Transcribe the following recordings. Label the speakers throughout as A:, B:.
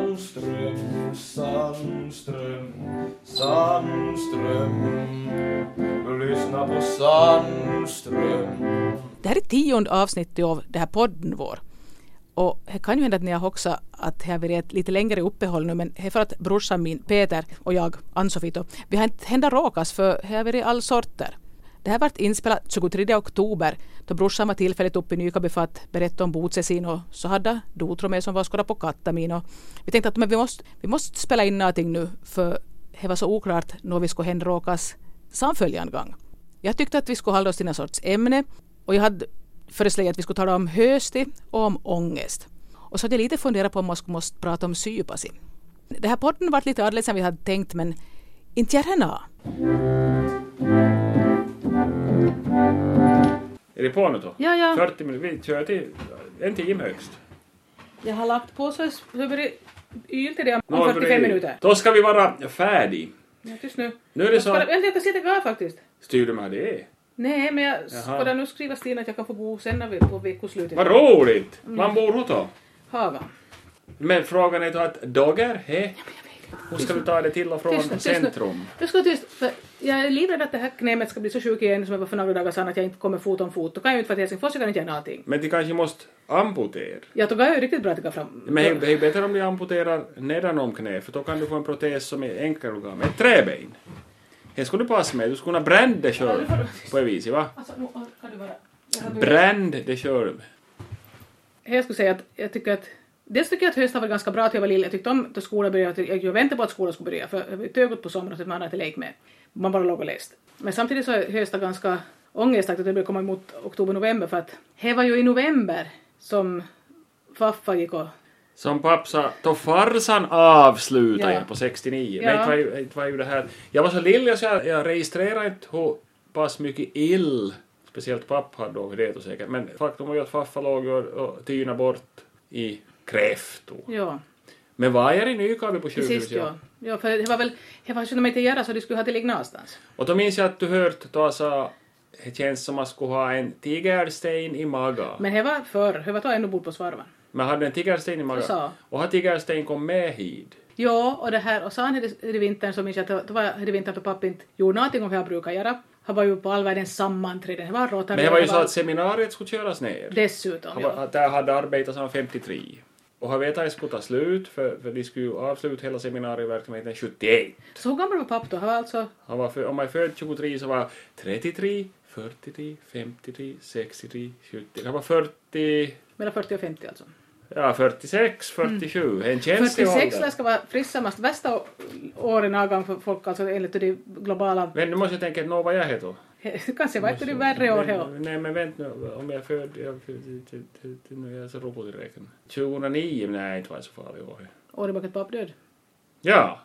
A: Sandström, Sandström, Sandström. Lyssna på Sandström.
B: Det här är tionde avsnittet av det här podden vår. Och det kan ju hända att ni har också att det har varit ett lite längre uppehåll nu men det är för att brorsan min Peter och jag, Ann-Sofie då, vi har inte hända råkas för det har varit all sorter. Det här vart inspelat 23 oktober då brorsan var tillfälligt uppe i Nykabi för att berätta om botsesin och så hade Dotro med som var och skådade på kattamin och vi tänkte att men vi, måste, vi måste spela in någonting nu för det var så oklart när vi skulle hända råkas samföljande gång. Jag tyckte att vi skulle hålla oss till någon sorts ämne och jag hade föreslagit att vi skulle tala om hösti och om ångest. Och så hade jag lite funderat på om man skulle måste prata om sypasi. Det här podden varit lite annorlunda än vi hade tänkt men inte gärna.
C: Är det på nu då?
B: Ja, ja.
C: 40 minuter, vi kör till en timme högst.
B: Jag har lagt på så hur blir det yl till det om
C: Nå, börjar vi. Då ska vi vara färdiga.
B: Ja, tyst nu.
C: Nu är det så...
B: jag kan sitta kvar faktiskt.
C: Styr du med det?
B: Nej, men jag
C: Jaha. skulle
B: nu skriva Stina att jag kan få bo sen när vi på veckoslutet.
C: Vad roligt!
B: Mm.
C: Var bor hon då?
B: Haga.
C: Men frågan är då att dagar, he? Hur ska du ta dig till och
B: Tyst nu,
C: från
B: tyst nu.
C: centrum?
B: Jag ska vara tyst, för jag är livrädd att det här knämet ska bli så sjuk igen som jag var för några dagar sedan att jag inte kommer fot om fot. Då kan jag ju inte vara till Helsingfors, jag kan inte göra någonting.
C: Men de kanske måste amputera.
B: Jag tog ju riktigt bra att gå fram.
C: Men det är- det är bättre om de amputerar nedanom knä, för då kan du få en protes som är enklare att gå med. Ett träben. Det skulle du passa med, du skulle kunna bränna dig själv på ett vis, va?
B: Alltså, nu orkar du bara. Jag har-
C: Bränn dig själv.
B: Jag skulle säga att jag tycker att Dels tycker jag att hösten var ganska bra att jag var lilla. Jag tyckte om att skolan började. Jag jag väntade på att skolan skulle börja för jag var ett ögat på sommaren så att man hade inte lekt med. Man bara låg och läste. Men samtidigt så är hösten ganska ångestaktigt att det började komma emot oktober-november för att det var ju i november som faffa gick och
C: Som papsa, då farsan avslutade
B: Ja.
C: jag på 69.
B: Ja.
C: Men inte var, ju, inte var ju det här. Jag var så lilla så jag, jag registrerade inte hur pass mycket ill, speciellt pappa hade då, det är då säkert, men faktum var ju att faffa låg och, och tyna bort i kräftor.
B: ja,
C: Men var jag i Nykabi på
B: till sist
C: sjukhus?
B: ja. Ja, för det var väl, det var ju inte göra så de skulle ha till ligga någonstans.
C: Och då minns jag att du hört då sa, det känns som att man skulle ha en tigersten i magen.
B: Men det var förr, det var då jag ändå bodde på Svarvan.
C: Men hade en tigersten i magen?
B: sa.
C: Och har tigersten kom med hit?
B: Ja, och det här, och sen i vintern så minns jag att det- det var i vintern då pappa inte gjorde någonting om vad jag brukar göra. Han var ju på all världens sammanträden, han var råtare.
C: Men det var ju så att seminariet skulle köras ner.
B: Dessutom,
C: Han
B: ja.
C: var, där hade arbetat sedan 53. Och han vet att det skulle ta slut, för, för de skulle ju avsluta hela seminarieverksamheten 71.
B: Så hur gammal var pappa då? Han var alltså...
C: Han var för, om han är född 23 så var han 33, 43, 53, 63, 70. Han var 40,
B: Mellan 40 och 50 alltså.
C: ja
B: Mm.
C: 46, 47. En känslig
B: 46
C: ålder.
B: lär ska vara frissammast, värsta å- åren avgång för folk alltså enligt det globala...
C: Men nu måste jag tänka, nå vad jag heter.
B: Kanske var inte det värre år här.
C: Nej men vänta nu, om jag är född... Jag, nu är jag så rolig i räkningen. 2009, nej inte var jag så farlig år.
B: Året bakat pappa död.
C: Ja!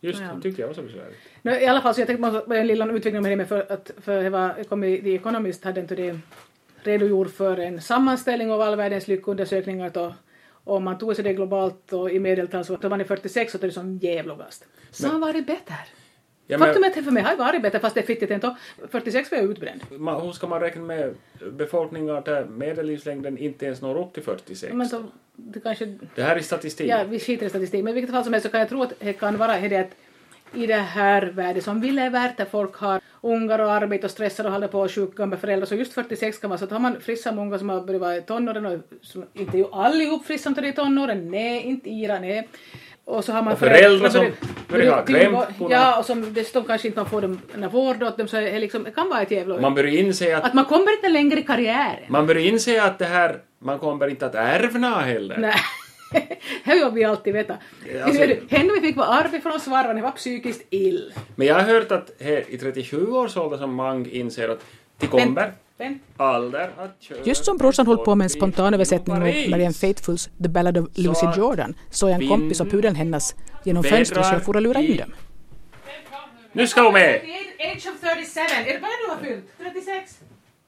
C: Just
B: Ja.
C: det, tyckte jag var så besvärligt.
B: No, I alla fall, så jag tänkte man en liten utvikning med det, men för att för det var, kom i The Economist hade inte det redogjort för en sammanställning av all världens lyckoundersökningar då, om man tog sig det globalt och i medeltal så var man i 46 och det är som djävligast. Så har varit bättre.
C: Ja, men-
B: Faktum är att det för mig har varit bättre fast det är fittigt ändå. 46 var jag utbränd.
C: Man, hur ska man räkna med befolkningar där medellivslängden inte ens når upp till 46?
B: Men så, det kanske
C: Det här är statistik.
B: Ja, vi skiter i statistik, men i vilket fall som helst så kan jag tro att det kan vara det att i det här världen som vi lever där folk har ungar och arbete och stressar och håller på och sjuka med föräldrar så just 46 kan man så att har man frissa många som har börjat vara i tonåren och som, inte ju allihop frissa till det i tonåren, nej, inte Ira, nej. Och så har man
C: Och föräldrar som
B: börjar-
C: börjar ha
B: börjar-
C: krämporna.
B: Ja, och som dessutom kanske inte man får dem när vård åt dem så är det liksom, det kan vara ett jävla...
C: Man börjar inse att,
B: Att man kommer inte längre i karriären.
C: man börjar inse att det här, man kommer inte att ärvna heller.
B: Nej. Det har vi alltid vetat.
C: Alltså-
B: Henne vi fick vara arvet från svarvan, det var psykiskt ill.
C: Men jag har hört att här, i 37 års ålder som Mang inser att de kommer
B: Men,
C: ålder att köra
B: Just som brorsan höll på med en
C: bil
B: spontan översättning av
C: genom Paris.
B: Marianne Faithfuls The Ballad of Lucy
C: att
B: Jordan såg jag en kompis och pudeln hennes genom fönstret så jag for och lura in
C: i-
B: dem.
C: Nu ska hon med!
B: Age of 37, är det bara du har fyllt? 36?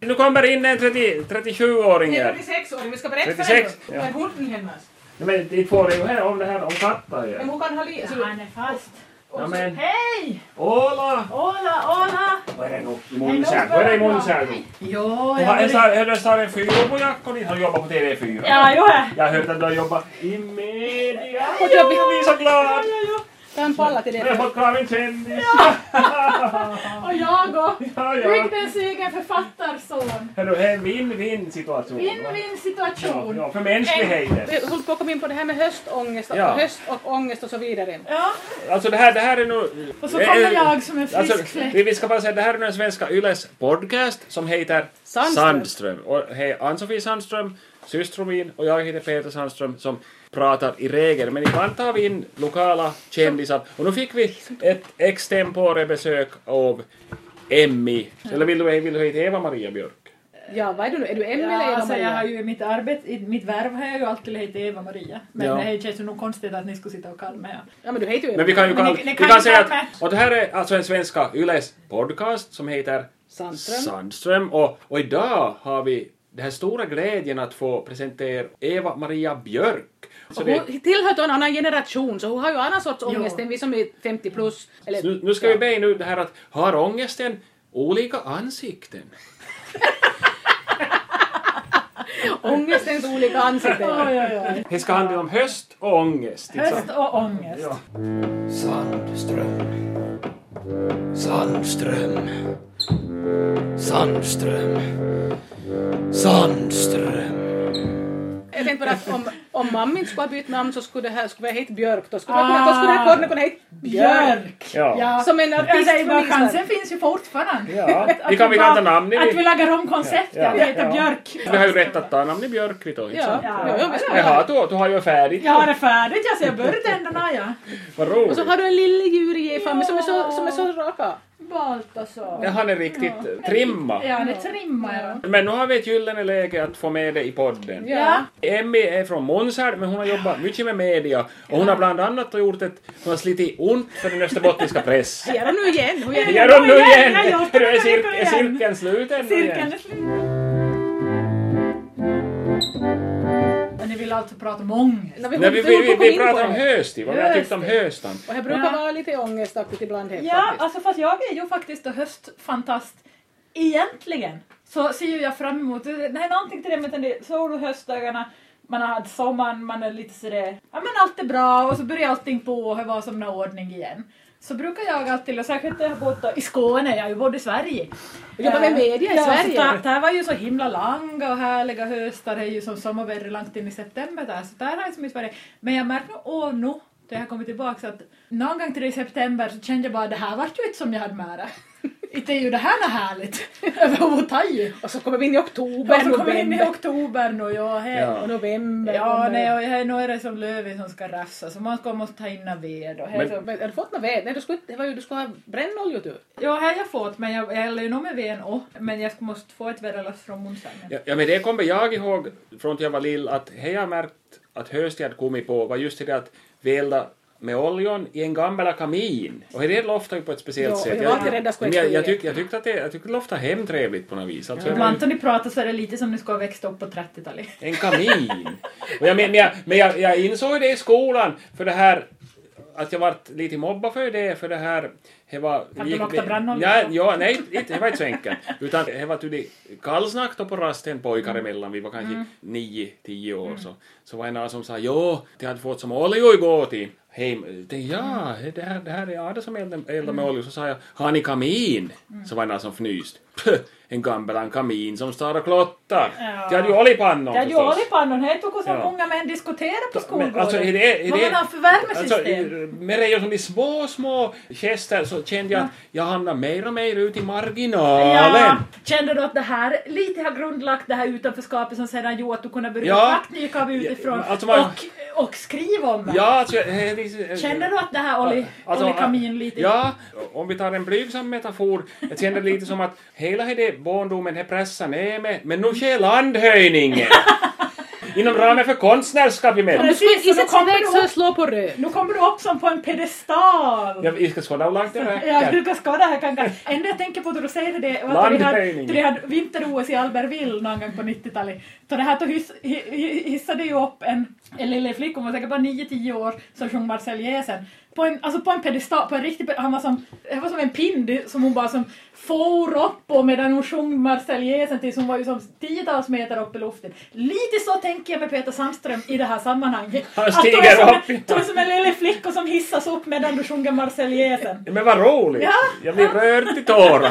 C: Nu kommer in en 30 37-åring här.
B: 36 år, vi ska berätta
C: 36,
B: för henne.
C: ja.
B: Men hunden hennes.
C: Nej, Men de får det ju här om det här om katter ju.
B: Men hon kan ha liv.
D: Han är fast.
C: Ja, men,
D: Hej!
C: Ola!
D: Hola, hola!
C: Vad är det nog i munsär? Vad är det i munsär nu?
D: Jo,
C: Jag har- jag sa- jag sa en fyra på jackan, har jobbat på TV4.
D: Ja, jo.
C: Jag har hört att du har jobbat i media.
B: Vad jobbigt.
C: Jag blir så glad!
B: Ta en palla till
C: Jag har
B: det.
C: fått klar min kändis!
D: Och jag och
C: Ja, ja.
D: bygdens egen författarson.
C: Hörru, det är en win-win situation.
D: Vinn-vinn
C: Ja,
D: situation.
C: ja, för mänskligheten.
B: Vi höll på att komma in på det här med höstångest och,
C: Ja.
B: höst och ångest och så vidare.
D: Ja,
C: Alltså det här, det här är nu...
D: och så kommer jag som en
C: Alltså,
D: frisk fläkt.
C: vi, vi ska bara säga det här är den svenska Yles podcast som heter
B: Sandström.
C: Och hej Ann-Sofie Sandström, systermin och jag heter Peter Sandström som pratar i regel. Men ibland tar vi in lokala kändisar och nu fick vi ett extempore besök av Emmy. Eller vill du, vill du heta Eva-Maria Björk?
B: Ja, vad är du nu? Är du Emmy
D: Ja,
B: eller Eva
D: alltså jag har
B: Maria?
D: ju i mitt arbete, i mitt värv har jag ju alltid hetat Eva-Maria. Men
C: Ja.
D: det känns ju nog konstigt att ni skulle sitta och kalla mig ja.
B: Ja, men du heter ju Eva.
C: Men vi kan ju
D: Men ni-
C: kalla,
D: ni
C: vi
D: kan
C: kan
D: ju
C: säga
D: kalla mig-
C: att, och det här är alltså en svenska Yles podcast som heter
B: Sandström.
C: Sandström. Och, och idag har vi den här stora glädjen att få presentera Eva-Maria Björk. Så
B: Och
C: det,
B: hon tillhör till en annan generation, så hon har ju annan sorts
D: Jo.
B: ångest än vi som är 50 plus. Eller,
C: nu, nu ska vi be nu det här att har ångesten olika ansikten?
B: ångestens olika ansikten.
D: Oj, oj, oj.
C: Det ska handla om höst och ångest. inte sant?
D: Höst och ångest.
C: Ja.
A: Sandström. Sandström. Sandström. Sandström.
B: Jag tänkte bara att om, om mamma inte skulle ha bytt namn så skulle det här skulle jag heta Björk. Då skulle, ah. kunna, då skulle den här podden kunna heta Björk.
D: Björk!
C: Ja.
B: Som en
D: Ja,
B: artist
D: det är
B: från
D: bara,
B: Island.
D: chansen finns ju fortfarande.
C: Ja. Vi kan-
D: vi
C: vi kan
D: bara-
C: ta namn i
D: Att
C: det.
D: vi lagar om konceptet,
C: Ja.
D: vi heter
C: Ja.
D: Björk.
C: Vi har ju rätt att ta namn i Björk, vet du, inte
B: Ja,
C: sant?
B: ja, ja, visst.
C: Jaha, du, du har ju färdigt.
D: Jag har det färdigt, alltså jag börjar tänderna ja.
C: Vad
B: Och
C: roligt.
B: så har du en lille djurgefamilj som, är så- som är så raka.
D: Baltasar.
C: Ja, han är riktigt trimma.
D: alltså. Ja, det trimmar jag.
C: Men nu har vi ett gyllene läge att få med det i podden.
D: Ja.
C: Emmy är från Månsard, men hon har jobbat mycket med media och hon har bland annat gjort ett... Hon har slitit ont för den österbottniska pressen.
B: Det gör hon nu igen. Hon gör det
C: Det
B: igen.
C: gör hon nu
D: Ja, ja,
C: igen!
D: ja, ja,
C: Hörru, Är
D: ja,
C: cir-
D: ja,
C: är
D: ja.
C: cirkeln sluten nu
D: Cirkeln
C: igen?
D: är slut. Men ni vill alltså prata om ångest?
B: När vi,
C: Nej,
B: Nej,
C: vi, vi, vi, vi pratar om
B: det.
C: hösti, vad vi har tyckt om höstan.
B: Och det brukar
D: Ja.
B: vara lite ångestaktigt ibland helt
D: Ja,
B: faktiskt.
D: alltså fast jag är ju faktiskt då höstfantast. Egentligen så ser ju jag fram emot, det är någonting till det med den där sol och höstdagarna, man har haft sommaren, man är lite sådär, ja men allt är bra och så börjar allting på och det var som en ordning igen. Så brukar jag alltid, och särskilt när jag har bott då i Skåne, jag har ju bott i Sverige.
B: Och jobbar med media i
D: ja,
B: Sverige.
D: Så där, där var ju så himla långa och härliga höstar, det är ju som sommarväder långt in i september där, så där har jag som i Sverige. Men jag märker nog, åh nu, då jag kommit tillbaka, så att någon gång till i september så kände jag bara, det här vart ju inte som jag hade med det. Inte är ju det här något härligt överhuvudtaget.
B: Och så kommer vi in i oktober,
D: Och så kommer vi in i
B: november.
D: oktober nu, ja, hej.
C: Ja.
B: Och november.
D: Ja,
B: kommer-
D: nej, och här, nu är det som löven som ska rafsa, så man ska måste ta in något ved och här,
C: Men-
D: så,
B: Men har du fått något ved? Nej, du skulle, det var ju, du skulle ha brännolja du.
D: Alltså, Ja, här har jag fått, men jag, jag eldar ju nog med veden och, men jag måste få ett väderlass från Munsangen.
C: Ja, ja, men det kommer jag ihåg från att jag var lill att hej, jag har märkt att hösten hade kommit på var just det där att vi eldade med oljan i en gammal kamin. Och det loftar ju på ett speciellt
B: Ja,
C: sätt.
B: jag var alltid rädd att skulle
C: men jag, jag,
B: explodera.
C: tyck, jag tyckte att det, jag tyckte det loftade hemtrevligt på något vis. Alltså, jag var ju-
D: Ibland när ni pratar så är det lite som ni ska ha växt upp på 30-talet.
C: En kamin! Och jag, men men jag, men jag, jag insåg det i skolan, för det här att jag vart lite mobbad för det, för det här... Det var,
D: Att du luktar brannolja?
C: nej, ja, nej, inte, det var inte så enkelt. Utan det var tydligt kallsnack då på rasten pojkar
D: Mm.
C: emellan, vi var kanske nio, tio år, så, så var det någon som sa ja, det hade fått som olja igår till hem. Det, ja,
D: Mm.
C: det här, det här är Ada som eldar eldar med olja. Så sa jag, har ni kamin?
D: Mm.
C: Så var det någon som fnyst. "Pö, En gammal kamin som står och klottar.
D: Ja.
C: Det hade ju oljepannor
D: Det är ju
C: förstås.
D: oljepannor, det tog oss
C: Ja.
D: många män diskutera på
C: Men,
D: skolgården.
C: alltså, är det, är
D: Vad
C: det,
D: man har för värmesystem.
C: Alltså, med det som de små, små gester så kände jag att jag hamnar mer och mer ut i
D: ja,
C: marginalen.
D: kände du att det här lite har grundlagt det här utanförskapet som sedan gjorde att du kunde börja
C: Ja.
D: praktika av utifrån
C: Ja, alltså man-
D: och, och skriva om det?
C: Ja, alltså, eh, det-
D: Kände du att det här olje,
C: Alltså,
D: oljekamin lite...
C: Ja, om vi tar en blygsam metafor, jag kände lite som att hela det barndomen här pressar ner mig, men nu sker landhöjningen! Inom ramen för konstnärskapet.
B: Du
D: Precis,
B: skulle i
D: så då
B: sitt
D: kommer
B: väg
D: du
B: så
D: upp-
B: slå på röd.
D: Nu kommer du upp som på en pedestal!
C: Jag, jag ska skåda hur långt det
D: Ja,
C: räcker.
D: du kan skada här kanske. Enda jag tänker på då du säger det var att vi hade,
C: Landhöjning.
D: då vi hade vinter-OS i Albertville någon gång på 90-talet. Så det här då his, hi- hi- hissade ju upp en, en lille flicka, hon var säkert bara 9-10 år, som sjöng Marseljäsen. På en, alltså på en pedestal, på en riktig pedestal, han var som, han var som en pinn det- som hon bara som for upp på medan hon sjöng Marseljäsen tills hon var ju som tiotals meter upp i luften. Lite så tänker jämför med Peter Sandström i det här sammanhanget.
C: Han
D: Att då är
C: stiger
D: som-
C: upp.
D: då är som en lille flicka som hissas upp medan du sjunger Marseljesen.
C: Men vad roligt!
D: Ja.
C: Jag blir rörd till tårar.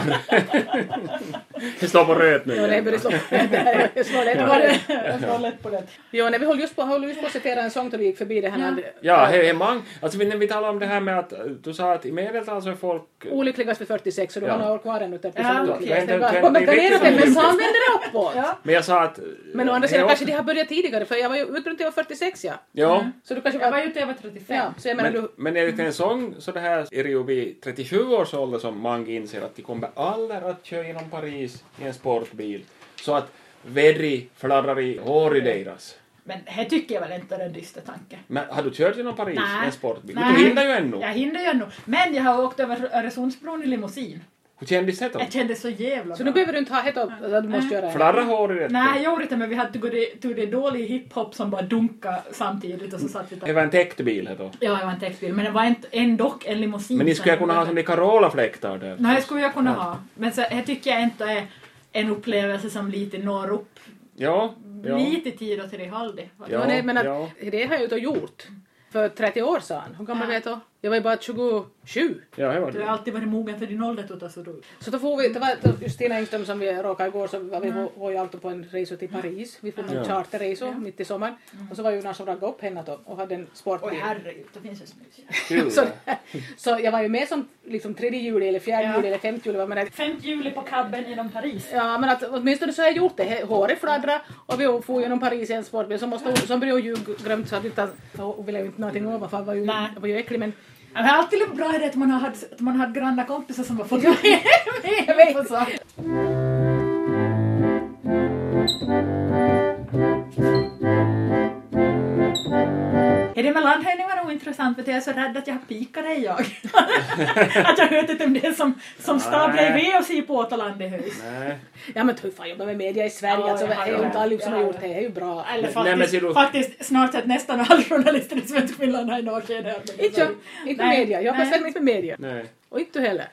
C: Jag slår på röt nu
B: Jo, nej,
C: igen.
B: men det slår- jag slår det.
D: Det
B: Det var
D: var
B: det.
D: det. Jag var lätt på det.
B: Jo, nej, vi höll just på, höll just på att citera en sång då vi gick förbi det här.
D: Ja.
B: André-
C: Ja, he, he, man, alltså vi- när vi talar om det här med att eh, du sa att i medeltal så är folk...
B: Olyckligast vid 46, så du
C: Ja.
B: har några år kvar ännu. Ja,
D: Ja,
B: men
D: okej.
C: Det är inte-
B: kan
C: det är
B: ge
C: riktigt
B: det, men
C: som
B: så använder det uppåt.
D: Ja.
C: Men jag sa att... eh,
B: Men å andra sidan kanske de har börjat tidigare, för jag var ju ute runt jag var 46 ja.
C: Ja.
B: Så du kanske
D: Jag
B: var...
D: var ju inte över 35.
B: ja, så jag menar
C: Men,
B: du...
C: men enligt en sång så det här är det ju vid 37 års ålder som många inser att de kommer aldrig att köra genom Paris i en sportbil. Så att vädri fladdrar i hår i deras.
D: Men här tycker jag väl inte är en dyster tanke.
C: Men har du kört genom Paris i en sportbil?
D: Nej.
C: Du hinner ju ännu.
D: Jag hinner ju ännu. Men jag har åkt över Öresundsbron i limousin.
C: Hur kändes det då?
D: Jag kände så jävla
B: Så nu behöver du inte ha hett upp att du måste
D: Nej.
B: göra det.
C: Flarra hår i rätt
D: Nej, jag gjorde inte men vi hade tog det, tog det dålig hiphop som bara dunka samtidigt och så satt vi
C: Det
D: där.
C: var en täckt bil här då.
D: Ja, det var en textbil, men det var inte, ändå en limousin.
C: Men ni skulle kunna ha som de Carola-fläktar där.
D: Nej, det skulle jag kunna
C: Ja.
D: ha. Men så, här tycker jag inte är en upplevelse som lite når upp.
C: Ja, ja.
D: Lite tid och Trehöldi.
B: Ja,
C: Ja,
B: nej, men att,
C: ja.
B: det har jag ju då gjort. För 30 år sedan. Hur gammal
D: Ja.
B: var jag då? Jag var ju bara 27.
C: Ja, det var
D: Du har
C: det.
D: alltid varit mogen för din ålder, Tuta, så du...
B: Så då får vi, det var då Stina Engström som vi råkade igår, så var vi mm. var ju alltid på en resa till Paris. Vi får en
C: Ja.
B: charterresa mitt i sommaren. Och så var Jonas som raggade upp henne då och hade en
D: Mm. Oj,
B: sportbil.
D: herregud, det finns ju snus.
C: Kul.
B: så, så jag var ju med som liksom tredje juli eller fjärde
D: Ja.
B: juli eller femte juli. vad man är.
D: 5 juli på Cabben inom Paris.
B: Ja, men att, åtminstone så har jag gjort det. He- Håret fladdrar och vi for genom Paris i en sportbil. Så, måste, hon- så började hon ljuga grömt så att inte, hon ville ju inte någonting ovanför. Hon var ju,
D: Nej.
B: var ju äcklig. Men
D: Ja, men det är alltid en bra idé att man har haft, att man har haft granna kompisar som har fått med, med på saker. Är det med landhöjningar ointressant för att jag är så rädd att jag har pika dig jag. att jag vet inte om det är som, som stablar i ved och ser på återland i höjs.
C: Nej.
B: ja men hur fan jobbar med media i Sverige?
D: Ja,
B: alltså,
D: ja,
B: det är ju
D: ja,
B: inte alla som har
D: ja.
B: gjort det. Det är ju bra.
D: Eller
C: Nej, men
D: faktiskt,
C: ser du-
D: faktiskt snart sett nästan alla journalister i svensk Finland har en årskedja.
B: Inte jag. Inte
D: Nej.
B: media. Jag
D: Nej.
B: passar inte med media.
C: Nej.
B: Och inte du heller.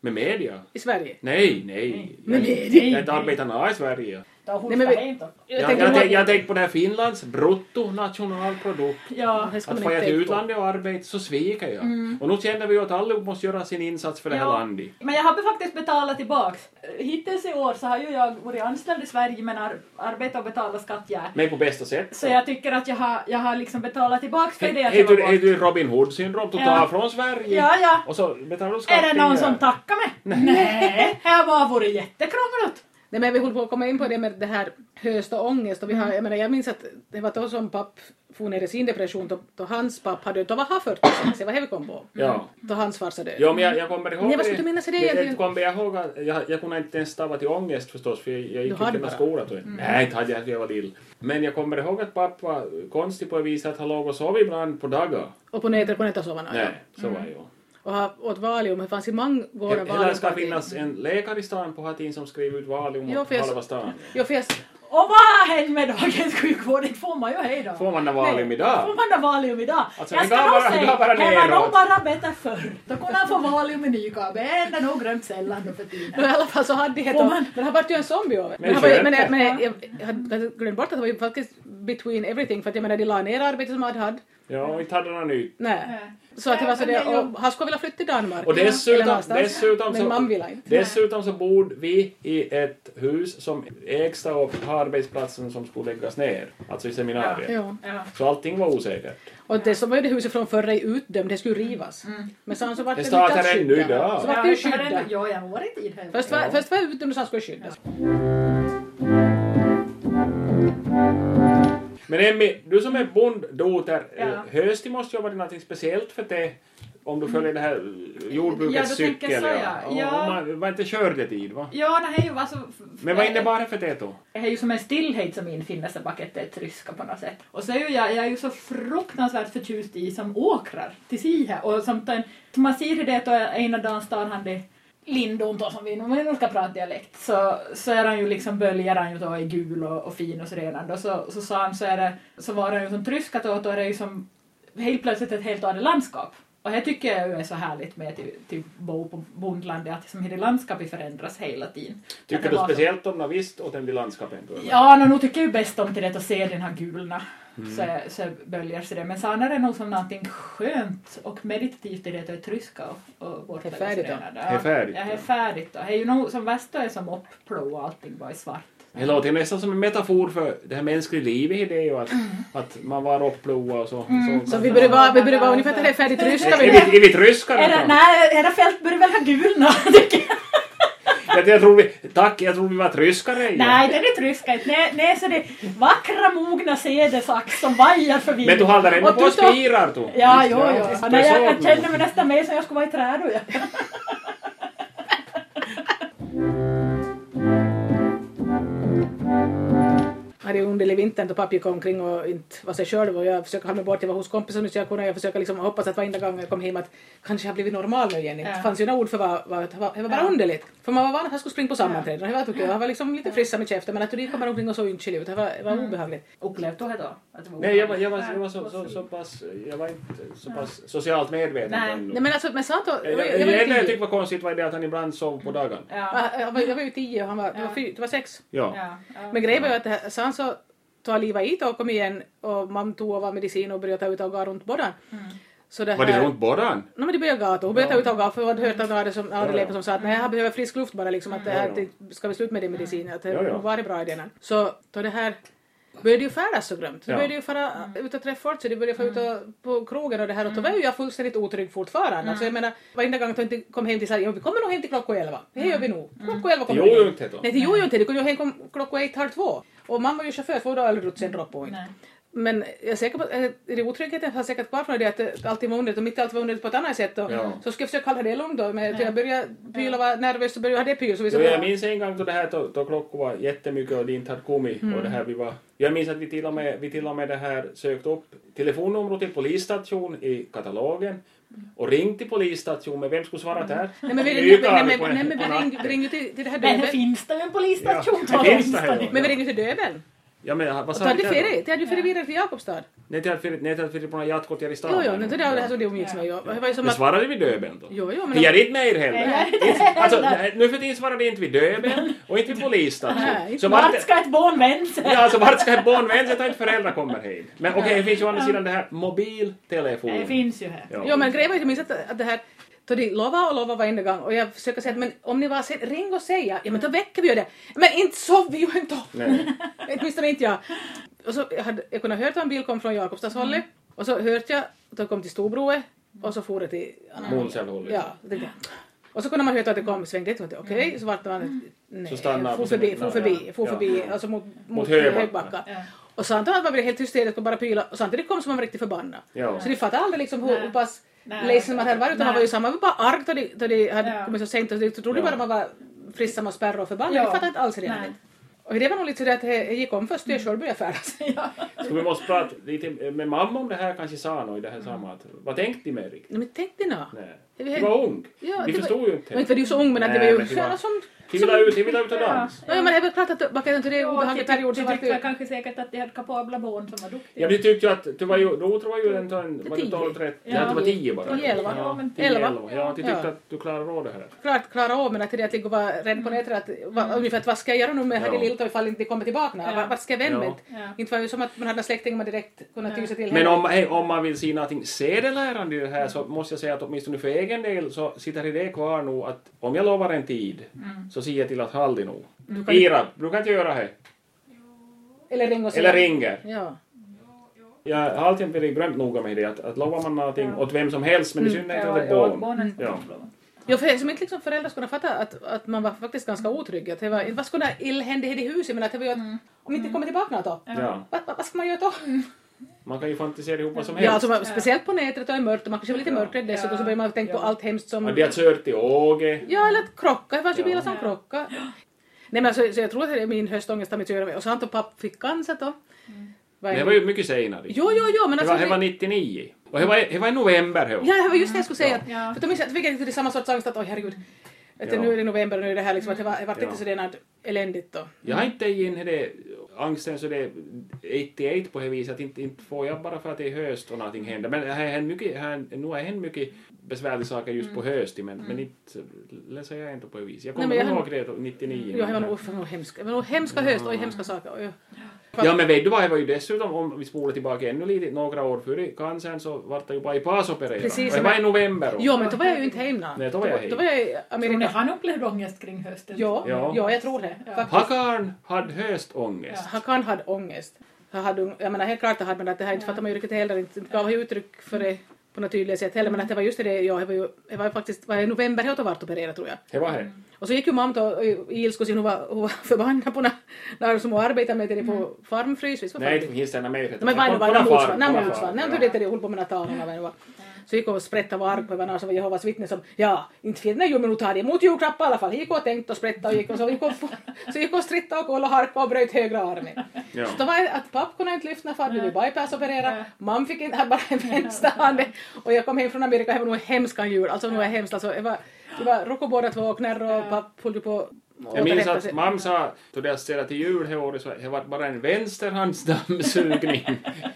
C: Med media?
B: I Sverige.
C: Nej, nej.
B: Men
C: Jag-
B: det är det
C: Jag är inte arbetarna i Sverige.
B: Nej, men vi-
D: Ja,
C: Jag, jag,
B: tänker-
C: tänk- jag tänker på det här Finlands bruttonationalprodukt.
D: ja.
B: Det ska
C: Att
B: man
C: få jag
B: inte
C: till
B: tänka på.
C: utlandet och arbeta så sviker jag. Och nu känner vi ju att alla måste göra sin insats för det här
D: Mm. Ja,
C: landet.
D: Men jag har faktiskt betalat tillbaks. Hittills i år så har ju jag varit anställd i Sverige men ar- arbetat och betalat skatt jag.
C: Men på bästa sätt.
D: Så jag tycker att jag har, jag har liksom betalat tillbaks för det att
C: Heter
D: jag var
C: det- heter
D: bort.
C: det Robin Hood-syndrom? Du
D: Ja.
C: tar från Sverige
D: Ja, ja.
C: och så betalar du skatt
D: Är det någon
C: igen.
D: som tackar mig? Nej, det har bara varit jättekrångligt.
B: Nej, men vi håller på att komma in på det med det här höst och ångest. Och vi har, jag, menar, jag minns att det var då som papp for ner i sin depression, då, då hans papp hade, då var han 46, det var det vi kom på.
C: Ja.
B: Då hans farsa död.
C: Ja, men jag, jag kommer ihåg
B: Nej, vad skulle du mena sig det egentligen?
C: Jag kommer jag ihåg att jag, jag kunde inte ens stava till ångest förstås, för jag, jag gick
B: Du hade
C: inte i
B: bara.
C: skolan då. Nej, inte hade jag, jag var lill. Men jag kommer ihåg att pappa var konstig på det viset att han låg och sov ibland på dagar.
B: Och på nätet på nätet sov han.
C: Nej, så var jag.
B: Och han åt Valium, det fanns i många gårdar
C: Eller det ska
B: Valium.
C: finnas en läkare i stan på Hatin som skriver ut Valium
B: Ja,
C: åt
B: för jag-
C: halva stan.
B: Jo, för jag,
D: Och vad har hänt med dagens sjukvård? Det får man ju hej då.
C: Får man en Valium
D: Får
C: idag?
D: man då valium idag?
C: Alltså,
D: jag
C: det
D: ska
C: går
D: nog
C: bara- det
D: säga,
C: går bara
D: det var nog
C: neråt.
D: bara bättre förr. Då kunde han få valium i Nykabe. Det händer nog glömt sällan nu för tiden.
B: no, i alla fall så hade det
D: Får
B: hetat,
D: man-
B: men han vart ju en zombie av det.
C: Men
B: Men, han var, ju- men,
C: skönt.
B: men jag, jag hade glömt bort att det var ju faktiskt between everything, för att jag menar de la ner arbetet som han hade.
C: Ja, och inte hade någon nytt.
B: Nej. Så att det var så det, och han skulle vilja flytta till Danmark.
C: Och
B: Eller
C: dessutom,
B: någonstans.
C: dessutom,
B: Men
C: så,
B: man ville inte.
C: dessutom så bor vi i ett hus som ägs av arbetsplatsen som skulle läggas ner, alltså i seminariet.
B: Ja.
D: Ja.
C: Så allting var osäkert.
B: Och det som var ju det huset från förra i utdömt, det skulle rivas. Men sen så vart
C: Det
B: det
C: startar
B: lyckat
C: ännu
B: skydda.
C: idag.
B: Så vart
D: Ja,
B: det ju
D: jag har ändå-
B: skydda.
D: Ja, jag har varit i det.
B: Först var, först var det utdömt och sen skulle det skyddas.
C: Men Emmy, du som är bonddoter,
D: Ja.
C: ja. hösti måste ju ha varit något speciellt för dig om du följer det här eh,
D: Ja,
C: jordbrukets
D: du tänker
C: cykel.
D: så, ja. Ja.
C: Och Man, var inte skördetid va?
D: Ja, det här är ju alltså...
C: Men vad innebar det för dig då?
D: Det här är ju som en stillhet som infinner sig bakom det tryska på något sätt. Och så är ju jag, jag är ju så fruktansvärt förtjust i som åkrar till si här. Och som, den- som man ser i det att ena dagen står han det Lindon då som vi om vi nu ska prata dialekt så, så är han ju liksom böljar han ju då är gul och, och fin och så redan då så, så sa han så är det så var han ju som tryskat åt och det är ju som helt plötsligt ett helt annat landskap. Och det tycker jag ju är så härligt med att typ bo på bondlandet, att som hela landskapet förändras hela tiden.
C: Tycker
D: Att
C: du
D: det var så-
C: speciellt om Navist och den blir landskapet?
D: Ja, no, nu tycker jag ju bäst om till det att se den här gulna
C: Mm.
D: så, så böljar sig det. Men sen är det nog som någonting skönt och meditativt i det att det är tryska och, och borta.
B: Det är färdigt då.
C: Det
D: Det
C: är färdigt,
D: Ja, det
C: ja.
D: är färdigt då. Det är ju nog som värst då är som uppblå och allting bara i svart.
C: Det låter ju nästan som en metafor för det här mänskliga livet i det ju att,
D: Mm.
C: att man var rockploa och så.
B: Så vi börjar vara, vi börjar vara ungefär där det är färdigt ryska.
C: Är
B: Vi
C: vi- Är vi ryskar?
D: Är det,
C: utan-
D: nej, era fält börjar väl ha gulna, tycker jag.
C: Jag, jag tror vi, tack, jag tror vi var ryskare. i det.
D: Nej, det är inte ryska. Nej, nej, så det är vackra mogna sädesax som vajar förbi.
C: Men du håller ändå
D: Och
C: på och
D: du tar-
C: spirar du.
D: Ja, jo, jo.
C: visst,
D: Nej, jag,
C: det är
D: jag
C: så.
D: känner mig nästan mer som jag skulle vara i träd. och jag-
B: hade ju underlig vintern då pappa gick omkring och inte var sig själv och jag försökte hamna bort, jag var hos kompisar så jag kunde, jag försökte liksom hoppas att varenda gång jag kom hem att kanske jag har blivit normal nu igen.
D: Ja.
B: Det fanns ju några ord för vad, vad det var, det var bara
D: Ja.
B: underligt. För man var van att jag skulle springa på sammanträden och det var tokigt, jag var liksom lite frissa med käften men att du gick bara omkring och såg ynkelig ut, det var, det var
C: Mm.
B: obehagligt.
D: Upplevde du det då? Att det var
C: Nej, jag var,
D: obehagligt?
C: jag var, jag var så, så, så pass, jag var inte så pass socialt medveten.
D: Nej.
C: ännu.
B: Nej men alltså, men Sato,
C: Jag-
B: jag,
C: jag-
B: var- jag,
C: Det enda jag
B: var ju
C: tyckte
B: tio.
C: var konstigt var det att han ibland sov på dagen.
D: Ja.
B: Ah, Jag var, jag var ju tio och han var, det var, fy, det var sex.
C: Ja.
D: Ja. ja.
B: Men grejen var ju att det här- sen så tog livet i och kom igen och mamma tog och var medicin och började ta ut och gå runt båda.
C: Mm.
B: Så
C: Var det
B: här-
C: runt bådan?
B: No, men det började gata. Hon började ta ut avgaser för jag hade hört att några som, några
C: Ja, ja.
B: elever som sa att nej, jag behöver frisk luft bara liksom att det här,
C: Ja,
B: det ska vi sluta med din medicin, att det
C: Ja, ja.
B: nog var det bra idén. Så då det här började ju färdas så grömt. Det
C: Ja.
B: började ju fara ut och träffa folk, så det började fara ut och, på krogen och det här och då var ju jag fullständigt otrygg fortfarande. Alltså jag menar, varenda gång jag inte kom hem till så här, ja vi kommer nog hem till klockan elva. Det gör vi nog. Klockan elva kommer
C: Det
B: vi
C: gjorde ju
B: hem.
C: inte då.
B: Nej det gjorde ju inte det. Det kunde ju hem kom- klockan ett, halv två. Och mamma var ju chaufför för då hade rutsen droppade hon inte.
D: Nej.
B: Men jag är säker på att eh, är det otryggheten har säkert kvar från det att det alltid var onödigt och mitt i allt var onödigt på ett annat sätt. Och,
C: Ja.
B: Så ska jag försöka hålla det lugnt då. Men jag började pyla var nervös och började ha det pyl. Så vi
C: Jo,
B: så
C: jag minns en gång då det här då, då klockan var jättemycket och det inte hade kommit. Och det
B: Mm.
C: här, vi var, jag minns att vi till och med, vi till och med det här sökte upp telefonnumret till polisstation i katalogen och ringt till polisstation men vem skulle svara där?
B: Mm. nej men vi
C: Mycket
B: ringde, nej,
C: har
B: nej,
C: på en-
B: men- nej, men
C: på
B: vi
C: natten.
B: ringde, vi ringde till, till det här
D: Men det
B: döbeln.
D: finns det ju en polisstation
C: Ja, det
D: tala
C: finns det här,
D: åtminstone.
C: ja.
B: Men vi ringde till döbeln.
C: Ja, men, vad
B: Och
C: sa
B: hade
C: du där då?
B: ferie, det hade ju ferie vidare till Jakobstad.
C: Nej, till att Filip- nej, till att Filip har jatkot i
B: Jo,
C: staden.
B: jo, men det var det här som det umgicks med. Jo. Det var ju som
C: Men
B: att...
C: svarade vi döbeln då?
B: Jo, jo, men...
C: Jag är inte med er heller.
D: Nej, jag är
C: Inte- alltså, nej, nu för tiden svarade inte vi döbeln och inte vi
B: Nej,
C: polisstation. Så vart
D: Vart
C: det-
D: ska ett barn vända sig?
C: Ja, alltså vart ska ett barn vända sig när inte föräldrar kommer hem? Men okej, det finns ju å andra sidan det här mobiltelefon.
D: Det finns ju här.
C: Ja.
B: Jo men grejen var ju minst att, att det här då de lovade och lovade varenda gång och jag försöker säga att men om ni var sen, ring och säga, ja men då väcker vi ju det. Men inte sov vi ju inte upp.
C: Nej.
B: Åtminstone inte jag. Och så jag hade jag kunnat höra att en bil kom från
C: Mm.
B: Jakobstadshållet och så hörde jag att de kom till Storbroe och så for det till
C: Mm. Månselvhållet.
B: Ja, det där. Och så kunde man höra att det kom svängde jag tänkte, okej, så vart man nej,
C: Mm. Så stanna
B: for
C: på
B: förbi, for
C: sina-
B: förbi, for
C: Ja.
B: förbi,
C: Ja.
B: alltså mot, mot,
C: Högbacka.
B: Högbacka.
D: Ja.
B: Och samtidigt var det helt hysteriskt och bara pyla och samtidigt kom som man var riktigt förbannad.
C: Ja.
B: Så de fattade aldrig liksom hur,
D: Nej.
B: hur pass
D: Nej.
B: ledsen man hade varit utan man
D: Nej.
B: var ju samma, man var bara arg då de, då de hade
D: Ja.
B: kommit så sent och de trodde
C: Ja.
B: bara man var frissa och spärra och förbannad.
D: Ja.
B: De fattade inte alls
D: Nej.
B: redan. Och det var nog lite så där att det det gick om först då jag själv började färdas.
C: Så vi måste prata lite med mamma om det här, kanske sa något i det här sammanhanget. Vad tänkte ni med riktigt?
B: Nej, Men tänk dig nå.
C: Nej.
B: Det
C: Du var ung.
B: Ja,
C: vi
B: det var-
C: förstod ju inte.
B: Men inte var du så ung men att det var
C: Nej,
B: ju
C: men det var-
B: sköna som...
C: Vi ville ut, vi ville ut och
D: Ja.
C: dans.
B: Ja, men det är väl klart att man kan inte det är en obehaglig period så
D: Du
B: vart det
D: tyckte
B: ju...
D: kanske säkert att de hade kapabla barn som var duktiga.
C: Ja, men du tyckte ju att du var ju, då tror jag ju en, en, var du
B: Tio.
C: 12, 13?
D: Ja.
C: Ja, du var 10 bara.
B: Tio, elva.
C: Ja,
D: men-
C: tio,
B: Elva.
C: elva. Ja, du tyckte
B: Ja.
C: att du klarade av det här.
B: klart klara av men att det är det att ligga och vara rädd på nätet att va, ungefär att vad ska jag göra nu med
C: Ja.
B: Hagge Lilto ifall inte det kommer tillbaka? Ja.
D: Ja.
B: Vart ska jag vända mig?
D: Ja. Ja.
B: Inte var det ju som att man hade några släktingar man direkt kunde ty sig till.
C: Men
B: henne.
C: om, hej, om man vill se någonting sedelärande i det här så måste jag säga att åtminstone för egen del så sitter det kvar nog att om jag lovar en tid så ser jag till att hålla det nog.
B: Du kan-
C: Ira, du kan inte göra det.
B: Eller ring och säga.
C: Eller ringer.
B: Ja.
C: Jag har alltid varit grymt noga med det att, att lovar man någonting åt vem som helst men i synnerhet åt ett
D: ja,
C: barn.
D: barnen ska
C: Ja.
D: kapabla.
B: Ja, för som inte liksom föräldrar skulle fatta att, att man var faktiskt ganska otrygg. Att det var, inte vad skulle det illhända i det huset men att det var ju att om inte kommer tillbaka något då?
C: Ja.
B: Vad, vad, vad ska man göra då?
C: Man kan ju fantisera ihop vad som
B: Ja,
C: helst.
B: alltså, man- speciellt på nätet och i mörkt och man kanske blir lite
C: Mm. Ja.
B: mörkrädd dessutom
D: Ja.
B: så börjar man tänka på
D: Ja.
B: allt hemskt som...
C: Att det har kört i Åge.
B: Ja, eller att krocka. Det fanns ju
C: Ja.
B: bilar som krockade. Nej men alltså, så jag tror att det är min höstångest har mitt att göra med. Och så han och pappa fick cancer då. Var
C: Det var ju mycket senare.
B: Jo, jo, jo, men
C: Det
B: alltså...
C: var, det var 99. Och det var, det var i november. Det var.
B: Ja, det var just det jag skulle säga.
D: Ja.
B: För då minns jag att vi fick lite samma sorts ångest att oj herregud. Att
C: Ja.
B: Nu är det november och nu är det här liksom. Att det var, det var
C: Ja.
B: lite sådär eländigt då.
C: Jag har inte gett in det angsten så det är 88 på det viset att inte, inte får jag bara för att det är höst och någonting händer. Men här är mycket, här, nu har hänt mycket besvärliga saker just på hösten men, men inte läser jag inte på det viset. Jag
B: Mm. Nej,
C: kommer
B: men jag
C: ihåg det då, 99.
B: Jo, det var nog uff, det var nog hemska, det var nog hemska höst, oj hemska saker. Oj.
C: Ja men vet du vad, det var ju dessutom om vi spolar tillbaka ännu lite, några år före cancern så vart det ju bypassopererat.
B: Precis,
C: Och Det var i november.
B: Jo, men då var jag ju inte hemma.
C: Nej, då var jag hej.
B: Då var jag i
D: Tror ni
B: Amerika.
D: han upplevde ångest kring hösten?
B: Ja,
C: Ja.
B: ja, jag tror det.
D: Ja.
B: Faktiskt.
C: Hakarn hade höstångest.
B: Han kan ha ångest. Han hade, jag menar helt klart han hade men att det här inte fattar man ju riktigt heller, inte gav han ju uttryck för det på något tydligt sätt heller men att det var just det, ja, det var ju det var ju faktiskt, var det i november jag vart opererad tror jag.
C: Det var det.
B: Och så gick ju mamma då i i ilska sin hon var, hon var förbannad på när, när som hon arbetade med det på farmfrys. Visst var
C: Nej,
B: farmfrys?
C: inte finns det ena med.
B: De var nog bara motsvarande. Nej, men motsvarande. Nej,
C: Nej,
B: men det är det jag höll på med när talarna var. Så gick hon och sprättade var arg på varandra som var Jehovas vittnen som ja, inte för nej, jo, men hon tar emot julklappar i alla fall. Hon gick och tänkte och sprättade och gick och så gick hon så gick hon och strittade och kollade och harkade och bröt högra armen.
C: Ja.
B: Så då var det att papp kunde inte lyfta när far blev bypassopererad,
D: Nej.
B: mam fick inte, hade bara en vänster hand och jag kom hem från Amerika och det var nog hemska jul, alltså det var hemskt alltså. Det var, det var rocko båda två och knärr och papp höll ju på att
C: Jag minns
B: återhämta
C: att
B: sig.
C: mamma sa, då det ställde till jul det året, så det var bara en vänsterhandsdammsugning.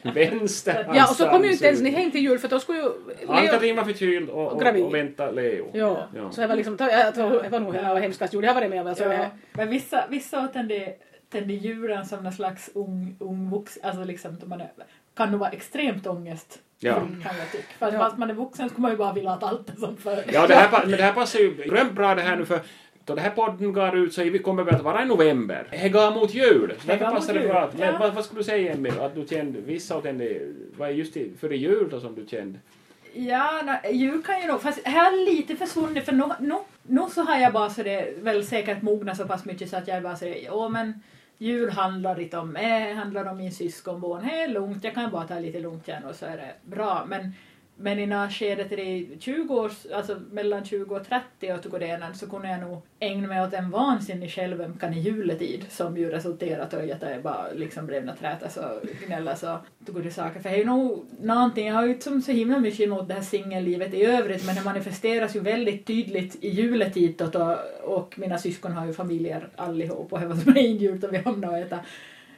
C: vänsterhandsdammsugning.
B: Ja, och så kom ju inte ens ni hem till jul för då skulle ju...
C: Ann-Katrin var förkyld och, och,
B: gravid.
C: och väntade Leo.
B: Ja,
C: Ja.
B: så det var liksom, jag tror det var nog hela hemskaste jul jag har varit med om. Alltså,
D: Ja,
B: ja.
D: men vissa, vissa har tänder, tänder djuren som någon slags ung, ung vuxen, alltså liksom, då man är, kan nog vara extremt ångest.
C: Ja.
D: Kan jag tycka. För att
B: Ja.
D: fast man är vuxen skulle man ju bara vilja att allt är som förr.
C: Ja, det här, pa- men det här passar ju grymt bra det här nu för då det här podden går ut så vi kommer väl att vara i november. Det går mot jul. Så
D: Det
C: därför
D: går mot
C: passar det
D: jul,
C: bra. Men
D: ja.
C: vad, vad skulle du säga Emil, att du kände vissa och tände, vad är just i, före jul då som du kände?
D: Ja, na, djur kan ju nog... Fast här är lite försvunnit för nog no, no, så har jag bara så det väl säkert mognat så pass mycket så att jag bara säger åh men jul handlar inte om mig, handlar om min syskonbarn. Det är lugnt, jag kan bara ta lite lugnt igen och så är det bra. Men, men i när skedet är det 20 års, alltså mellan 20 och 30 och tog det ena, så kunde jag nog ägna mig åt en vansinnig självömkan i juletid som ju resulterat i att jag bara liksom blev att trätas och gnällas och tog det saker. För det är ju nog någonting, jag har ju inte som så himla mycket emot det här singellivet i övrigt men det manifesteras ju väldigt tydligt i juletid då, då, och mina syskon har ju familjer allihop och det var som en jul då vi hamnade och äta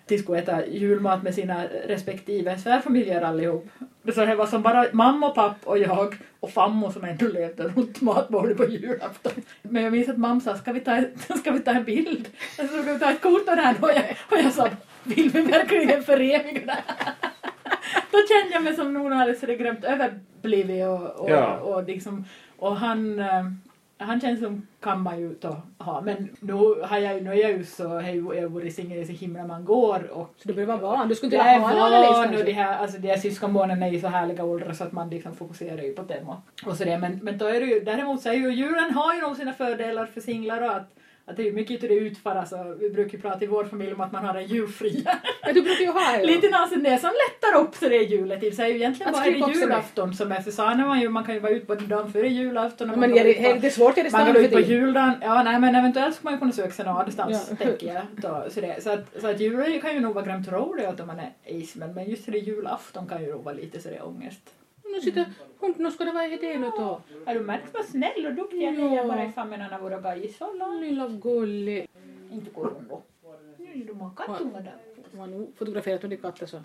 D: de skulle äta julmat med sina respektive svärfamiljer allihop. Så det var som bara mamma, pappa och jag och fammo som ändå levde runt matbordet på julafton. Men jag minns att mamma sa, ska vi ta, ska vi ta en bild? Alltså, ska vi ta ett kort av det här? Och jag, och jag sa, vill vi verkligen föreviga det här? Då kände jag mig som någon hade så det grämt överblivit och, och,
C: Ja.
D: och liksom, och han eh, han känns som kan man ju ta, ha, men nu, har jag, nu är jag ju så, har ju- jag har varit singel i så himla man går och
B: Så du behöver vara van, du skulle inte
D: jag är
B: vilja ha en analys
D: van och de
B: kanske.
D: här, alltså de här syskonbarnen är ju så härliga åldrar så att man liksom fokuserar ju på dem och, och så det. Men, men då är det ju, däremot så är ju djuren har ju nog sina fördelar för singlar och att, att det är ju mycket utav det utför alltså, vi brukar ju prata i vår familj om att man har en djurfria.
B: Men du brukar ju ha det.
D: Lite nasen det som lättar upp så det är julet i. Så är ju egentligen
B: Att
D: bara det
B: skriva också
D: julafton som är för så här, när man ju, man kan ju vara ute både dagen före julafton och
B: Men
D: kan
B: är
D: vara
B: det,
D: ute på-
B: är det svårt, är det
D: man
B: standard
D: går ut på
B: för dig?
D: juldagen. Ja, nej, men eventuellt skulle man ju kunna söka sig någon annanstans,
B: Ja.
D: tänker jag. Då, så, det, så, att, så att julen kan ju nog vara grymt rolig att man är ismen, men just det julafton kan ju nog vara lite så det är ångest.
B: Nu sitter hund, nu ska det vara idé nu då.
D: Har du märkt vad snäll och duktig jag är?
B: Ja.
D: Jag bara är fan med någon av våra guys. Hola.
B: Lilla gullig.
D: Inte går hon då. Nu är det många kattungar där.
B: Hon har nog fotograferat under katten så.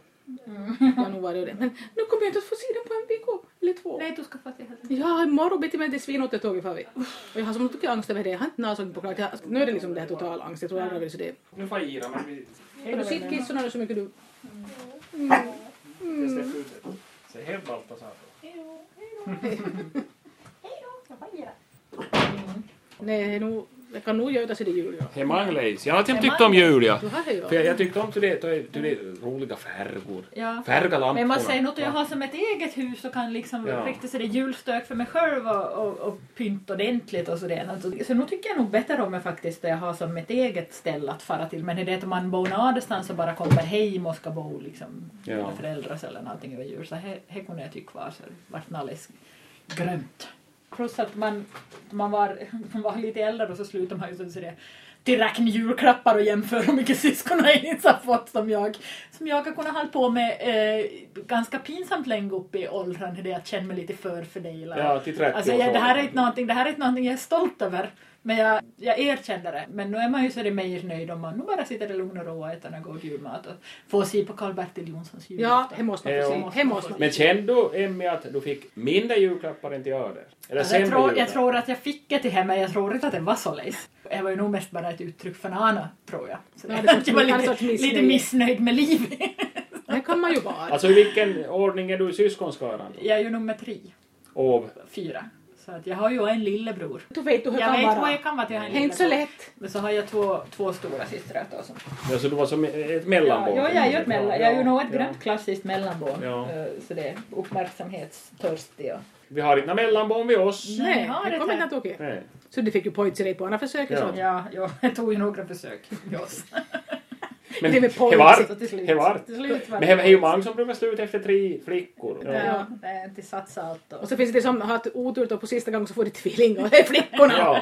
D: Mm.
B: Jag har nog varit det. Men nu kommer jag inte att få se den på en vecka eller två.
D: Nej, du ska få se helt.
B: Ja, imorgon bitti mig till svinåtertåget far vi. Och jag har så mycket angst över det. Jag har inte någonsin på klart. Jag, nu är det liksom det här total angst. Jag tror aldrig jag vill se det.
C: Nu får jag gira men
B: Har du sett kissorna nu så mycket du?
C: vi släpper ut det. Så helt Baltasar.
B: Nej, det är nog- jag kan nog göra sig det jul. Ja.
C: Hej Mangleis, jag har alltid tyckt om jul ja.
B: Du har det ju.
C: För jag, jag tyckte om till det, till det roliga färger.
D: Ja.
C: Färga lamporna.
D: Men man säger något jag har som ett eget hus och kan liksom
C: Ja.
D: riktigt så det är julstök för mig själv och, och, och pynta ordentligt och sådär. Alltså, Så nu tycker jag nog bättre om det faktiskt det jag har som ett eget ställe att fara till. Men är det att man bor någon annanstans och bara kommer hem och ska bo liksom
C: Ja.
D: med föräldrar eller någonting över jul. Så här, här kunde jag tycka var så vart nallis grönt. Plus att man, man, var, man var lite äldre och så slutade man ju så- så det till räkna julklappar och jämföra hur mycket syskon har inte har fått som jag. Som jag har kunnat hålla på med eh, ganska pinsamt länge upp i åldern, det är att känna mig lite förfördelad.
C: Ja, till 30
D: Alltså,
C: års
D: jag, det, här är
C: ålder.
D: inte någonting, det här är inte någonting jag är stolt över. Men jag, jag erkände det. Men nu är man ju så det mer nöjd om man nu bara sitter i lugn och ro och äter en god julmat och får se på Karl-Bertil Jonssons
B: Ja,
D: julafton.
B: det måste man
C: Ja.
B: få se. Det måste man.
C: Men kände du, Emmy, att du fick mindre julklappar än till Öder? Eller
D: Alltså, jag,
C: sämre
D: tror, jag
C: julklappar?
D: tror att jag fick det till hemma, jag tror inte att det var så lejs. Det var ju nog mest bara ett uttryck för Anna, tror jag. Så
B: Ja,
D: jag
B: det var-
D: var
B: en sorts
D: lite,
B: missnöje.
D: lite missnöjd med livet.
B: Det kan man ju vara.
C: Alltså i vilken ordning är du i syskonskaran?
D: Jag är ju nummer tre,
C: Av?
D: fyra. Så att jag har ju en lillebror.
B: Du vet du hur det
D: Jag
B: kan
D: vet vad
B: vara.
D: jag kan vara till jag har en
B: Det är inte så
D: lillebror.
B: lätt.
D: Men så har jag två, två stora systrar. då som-
C: Alltså du var som ett
D: Ja,
C: mellanbarn?
D: ja, jag är ju ett mellan, jag är ju nog ett
C: Ja.
D: grönt klassiskt mellanbarn.
C: Ja.
D: Eh, Så det är uppmärksamhetstörstig och...
C: Vi har inte några mellanbarn vid oss.
D: Nej,
B: Nej,
D: ja,
B: det
D: det
B: kommer
D: tar-
B: inte att åka.
C: Nej.
B: Så du fick ju points i dig på andra försök. och
C: Ja.
B: sånt.
D: Ja, ja, jag tog ju några försök. Yes.
C: Men
B: Det är väl points.
C: var-
D: Så till slut.
C: det var-
D: Till slut var
C: Men det är ju
D: points.
C: många som brukar sluta efter tre flickor. Ja.
D: Ja, det är inte satsa allt då.
B: Och så finns det som har haft otur då på sista gången så får de tvillingar. Det är flickorna!
C: Ja.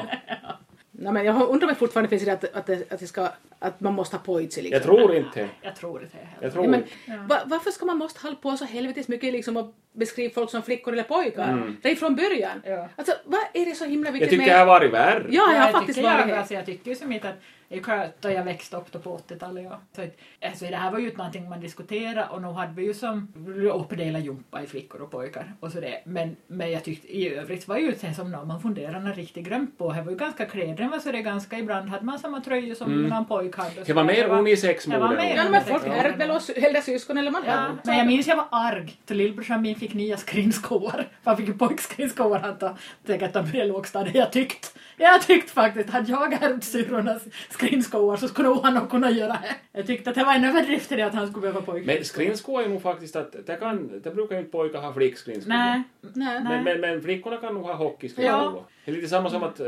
B: Nej, men jag undrar om det fortfarande finns det att, att, det- att, det ska, att man måste ha points i liksom.
C: Jag tror inte.
D: Jag tror det är
C: Jag
D: heller.
C: tror
B: Ja, men,
C: inte.
B: va, varför ska man måste hålla på så helvetes mycket liksom och beskriva folk som flickor eller pojkar? Det är från början.
D: Ja.
B: Alltså, vad är det så himla
C: Mm. Jag
B: viktigt
C: tycker det har varit värre.
B: Ja, jag har faktiskt
D: tycker
B: varit
D: jag,
B: här.
D: alltså, jag tycker ju som inte att... Det är ju klart, då jag växte upp då på 80-talet. Ja. Så att, Alltså, det här var ju inte någonting man diskuterade och nu hade vi ju som uppdelat jumpa i flickor och pojkar och så det. Men, men jag tyckte i övrigt var ju det som någon man funderade riktigt grönt på. Det var ju ganska kläderna var så det ganska... Ibland hade man samma tröja som någon pojk hade. och
C: Mm. Det
D: så
C: var
D: där.
C: mer unisex-mode.
D: Det var mer
B: Ja, men folk
D: Ja.
B: är väl oss äldre syskon eller man
D: Ja, men jag minns jag var arg till lillebrorsan min fick nya skrinskor. Han fick ju pojkskrinskor han tog. Tänk att han började lågstadiet. Jag tyckte, jag tyckte faktiskt, hade jag ärvt syrrornas skrinskor så skulle nog han nog kunna göra det. Jag tyckte att det var en överdrift i det att han skulle behöva pojkskrinskor.
C: Men skrinsko är nog faktiskt att det, kan, det brukar ju inte pojkar ha flickskrinsko.
D: Nej.
B: Nej.
C: Men, men, men flickorna kan nog ha hockeyskrinsko.
D: Ja.
C: Det är lite samma som att eh,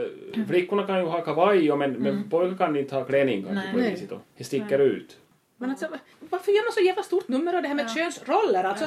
C: flickorna kan ju ha kavaj och men, men pojkar kan inte ha klänning kanske
D: Nej.
C: på det
B: Nej.
C: viset. då. Det sticker ut.
B: Men alltså, varför gör man så jävla stort nummer av det här med könsroller? Alltså,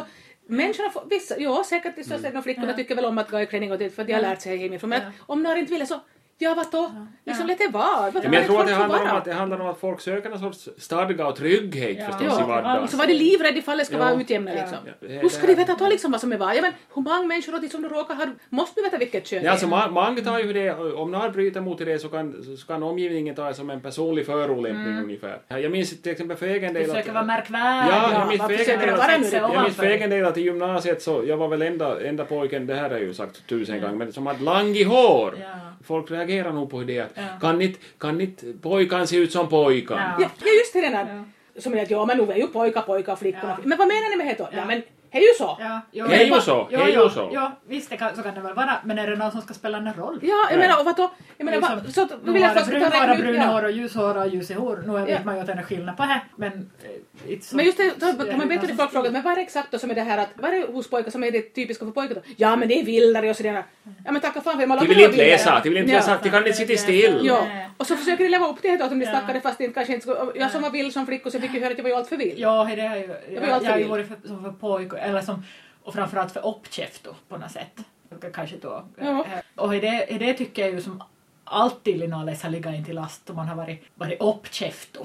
B: Människorna får, vissa, ja säkert i
C: Mm.
B: största delen av flickorna tycker väl om att gå i klänning och det för att de har lärt sig hemifrån. Men
D: Ja.
B: om några inte vill så, ja vad då? Liksom lät det vara.
C: Men jag tror att det handlar, om att det handlar om att folk söker någon sorts stadga och trygghet
D: Ja.
C: förstås
B: Ja,
C: i vardagen.
B: och så var det livrädd ifall det ska
C: Ja.
B: vara utjämna liksom.
C: Ja, det-
B: Hur ska de veta då liksom vad som är vad? Ja, men hur många människor och de som du råkar ha, måste du veta vilket kön
C: Ja, alltså, man, man tar ju det, om någon bryter mot det så kan, så kan omgivningen ta det som en personlig förolämpning ungefär. Jag minns till exempel för egen del
D: Försöka vara märkvärdig.
C: Ja,
B: Ja,
C: jag minns
B: man
C: för egen
B: försöker
C: del
B: vara
C: att-
B: nu.
C: jag minns för egen del att i gymnasiet så, jag var väl enda, enda pojken, det här har jag ju sagt tusen gånger, men som hade lang i hår.
D: Ja.
C: Folk reagerar nog på det att
D: Ja.
C: kan inte kan inte pojkan se ut som pojkan?
D: Ja.
B: Ja, ja just det den där. Som är att ja men nu är ju pojkar pojkar och flickorna.
D: Ja.
B: Men vad menar ni med det då? Ja,
D: Ja.
B: men det är ju så.
D: Ja, jo,
C: Hej och så,
D: jo,
C: hej
D: jo,
C: och så.
D: Ja, visst det kan, så kan det väl vara. Men är det någon som ska spela någon roll?
B: Ja, jag
C: Nej.
B: menar, och vadå? Jag menar,
D: Liksom,
B: va, så att,
D: Nu
B: vill jag
D: har
B: att
D: det
B: folk ska ta
D: brun, bara
B: räkna ut...
D: bruna hår
B: Ja.
D: och ljus hår och ljus i hår. Nu vet
B: Ja.
D: man ju att det är skillnad på det. Men... eh, it's so-
B: Men just det, då, då, man vet ju
D: det
B: det
D: är
B: folk frågar, men vad är det exakt då som är det här att, vad är det hos pojkar som är det typiska för pojkar då? Ja men det är vildare och sådär. Ja men tacka fan för det, man
C: De
B: låter
C: vill inte
B: vara vildare.
C: läsa, de vill inte
B: Ja.
C: läsa, de kan inte sitta still.
B: Ja,
D: Nej.
B: och så försöker de leva upp till det då, att de blir
D: Ja.
B: stackare fast det kanske inte skulle... Jag som var vild som flicka så fick ju höra att jag var ju allt för vild.
D: Ja, det är ju,
B: var
D: jag,
B: ju
D: jag,
B: alltid
D: har ju
B: vild.
D: varit för, som för pojk, eller som, och framförallt för uppkäft på något sätt. Och Kanske då. eh,
B: Ja.
D: Och i det, i det tycker jag ju som alltid Linnalis har legat in till last om man har varit, varit uppkäft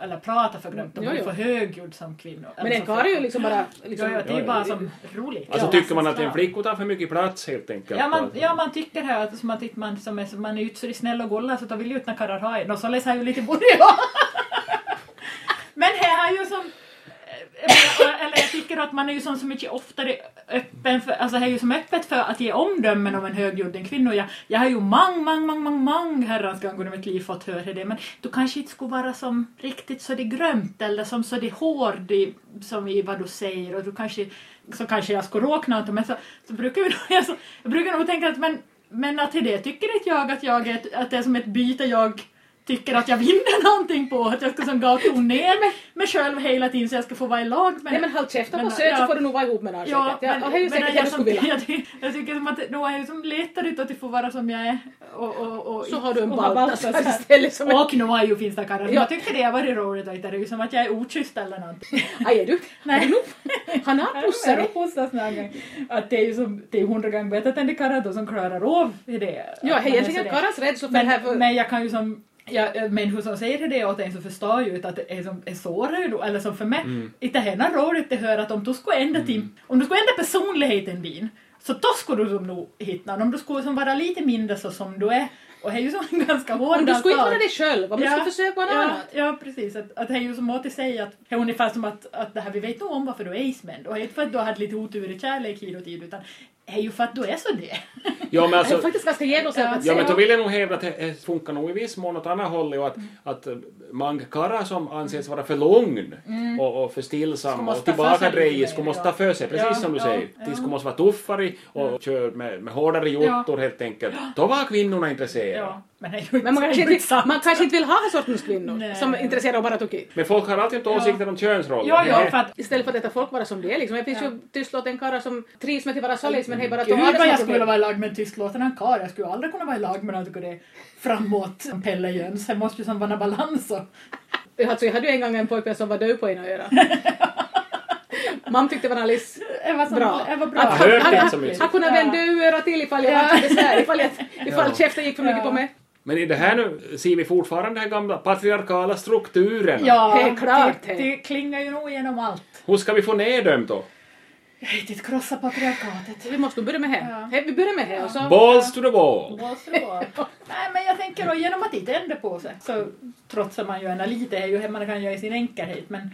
D: eller pratat för grönt. De
B: Mm, Jo,
D: är ju
B: jo.
D: för högljudd som kvinnor.
B: Men den karl är ju liksom bara...
D: Liksom,
B: Liksom,
D: ja, ja, det är
C: Ja,
D: ju
C: ja.
D: bara som roligt.
C: Alltså
D: Ja.
C: tycker man att en flicka tar för mycket plats helt enkelt?
D: Ja man, ja, man tycker här att som att inte man, som är, som man är ju så det är snäll och gullig så då vill ju inte karlar ha en. Och så läser jag ju lite i början. Men här har ju som... eh, Eller eller jag tycker att man är ju som så mycket oftare öppen för, alltså här är ju som öppet för att ge omdömen om en högljudd än kvinnor. Jag, jag har ju mang, mang, mang, mang, mang herrans gånger i mitt liv fått höra det. Men du kanske inte skulle vara som riktigt så det grömt eller som så det hård i, som i vad du säger och du kanske, så kanske jag skulle råkna inte men så, så brukar jag, nog- jag, så, jag brukar nog tänka att men, men att till det tycker inte jag att jag är, ett- att det är som ett byte jag tycker att jag vinner någonting på att jag ska som gå och ton ner mig själv hela tiden så jag ska få vara i lag med
B: Nej men håll käften och
D: Men,
B: var söt så
D: ja.
B: får du nog vara ihop med någon
D: Ja,
B: säkert. Ja,
D: men-
B: och det är ju
D: men
B: säkert
D: jag,
B: vad du
D: som,
B: skulle vilja.
D: jag, ty- jag tycker som att då är jag som letar ut att det får vara som jag är. Och, och, och,
B: Så har du en
D: och har
B: baltas
D: baltas här.
B: istället som en...
D: Och nu har ju finns det karlar.
B: Ja.
D: Jag tycker det har varit roligt och inte det är ju som att jag är oschysst eller någonting.
B: Aj är du?
D: Nej.
B: Han har pussar dig.
D: pussat någon gång. Att det är ju som, det är hundra gånger bättre än de karlar då som klarar av det.
B: Ja,
D: Att man
B: hej,
D: är
B: egentligen
D: sådär.
B: karlens rädsla för det här
D: Men,
B: för...
D: men jag kan ju som Ja, människor som säger det åt en så förstår ju inte att det är, som, är sårar ju då, eller som för mig, inte heller roligt att höra att om du skulle ändra tim, om du skulle ändra personligheten din, Så då skulle du som nog hitta någon. Om du skulle som vara lite mindre så som du är. Och det är ju som en ganska hård
B: Om du skulle inte
D: dag.
B: vara dig själv, om du
D: Ja,
B: skulle försöka vara något
D: ja,
B: annat.
D: Ja, precis. Att, att det är ju som Åti säger, att det är ungefär som att, att det här, vi vet nog om varför du är ismänd. Och det är inte för att du har haft lite otur i kärlek hit och tid, utan det är ju för att du är så det.
C: Ja, men
B: det är
C: alltså,
B: faktiskt ganska genomsnittligt.
C: Ja, men då vill jag nog hävda att det- det funkar nog i viss mån åt andra hållet och att,
D: Mm.
C: att eh, Mangkara som anses vara för lugn och, och för
D: Mm. Ska
C: stillsam
D: måste
C: och
D: ta för sig lite
C: tillbakadrejig
D: mer,
C: skulle måste
D: ja.
C: ta för sig, precis
D: Ja,
C: som du
D: ja,
C: säger.
D: ja. Mm.
C: De skulle måste vara tuffare och köra med, med hårdare jottor helt enkelt. Då var kvinnorna intresserade.
D: Ja, men det är ju inte
B: Men man kanske,
D: riktigt
B: inte,
D: sant.
B: man kanske inte vill ha den sortens kvinnor
D: Nej.
B: som är intresserade av bara toki.
C: Men folk har alltid inte
D: Ja.
C: åsikter om könsroller.
D: Ja, ja,
C: Nej.
D: för att...
B: Istället för att låta folk vara som de är. Liksom. Det finns
D: Ja.
B: ju tystlåt en karl som trivs med att vara salis men hej bara
D: Gud vad jag skulle
B: arbetsmarknaden.
D: vilja vara i lag med en tystlåten en karl. Jag skulle ju aldrig kunna vara i lag med någon som det framåt som Pelle Jöns. Det måste ju som vara balans och...
B: Alltså, jag hade ju en gång en pojkvän som var döv på ena örat. Mamma tyckte det var alldeles
D: Det var som,
B: bra.
D: Det var bra.
B: Att
C: Jag
B: han,
C: hörde
B: han,
C: inte så
B: han,
C: mycket.
B: han kunde
D: Ja.
B: vända örat till ifall jag
D: Ja.
B: var till besvär, ifall, jag, ifall
C: Ja.
B: käften gick för mycket
D: Ja.
B: på mig.
C: Men i det här nu ser vi fortfarande de här gamla patriarkala strukturerna.
D: Ja,
B: Det är klart,
D: det,
B: hej.
D: det klingar ju nog igenom allt.
C: Hur ska vi få ner dem då?
D: Jag har riktigt krossa patriarkatet.
B: Så vi måste nog börja med här.
D: Ja.
B: Här, Vi börjar med här och så...
C: Balls to the wall!
D: Nej men jag tänker då genom att inte ändra på sig så trotsar man ju ena lite, är ju man kan göra i sin enkelhet men...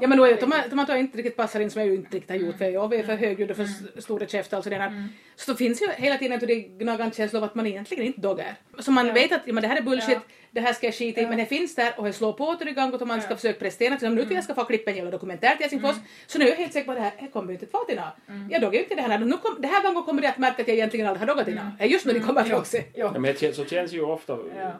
B: Ja men då är det, de, här- de här tar inte riktigt passar in som jag ju inte riktigt har gjort för jag är för
D: Mm.
B: högljudd och för s- stora käftar och sådär. Så då finns ju hela tiden det gnagande känsla av att man egentligen inte dog är. Så man
D: Ja.
B: vet att ja, men det här är bullshit,
D: Ja.
B: det här ska jag skita i,
D: Ja.
B: men det finns där och det slår på åter i gång och man ska
D: Ja. Mm.
B: försöka prestera. Så om nu till jag ska få klippa en jävla dokumentär till Helsingfors så nu är jag helt säker på att det här, här kommer ju inte att vara till något.
D: Mm.
B: Jag dog ju inte det här. Nu kom, det här gången kommer jag att märka att jag egentligen aldrig har doggat till något. Det är Just nu det kommer att
D: Mm.
B: dogga
D: Ja,
B: sig.
D: ja.
C: Ja, men det känns- så känns ju ofta.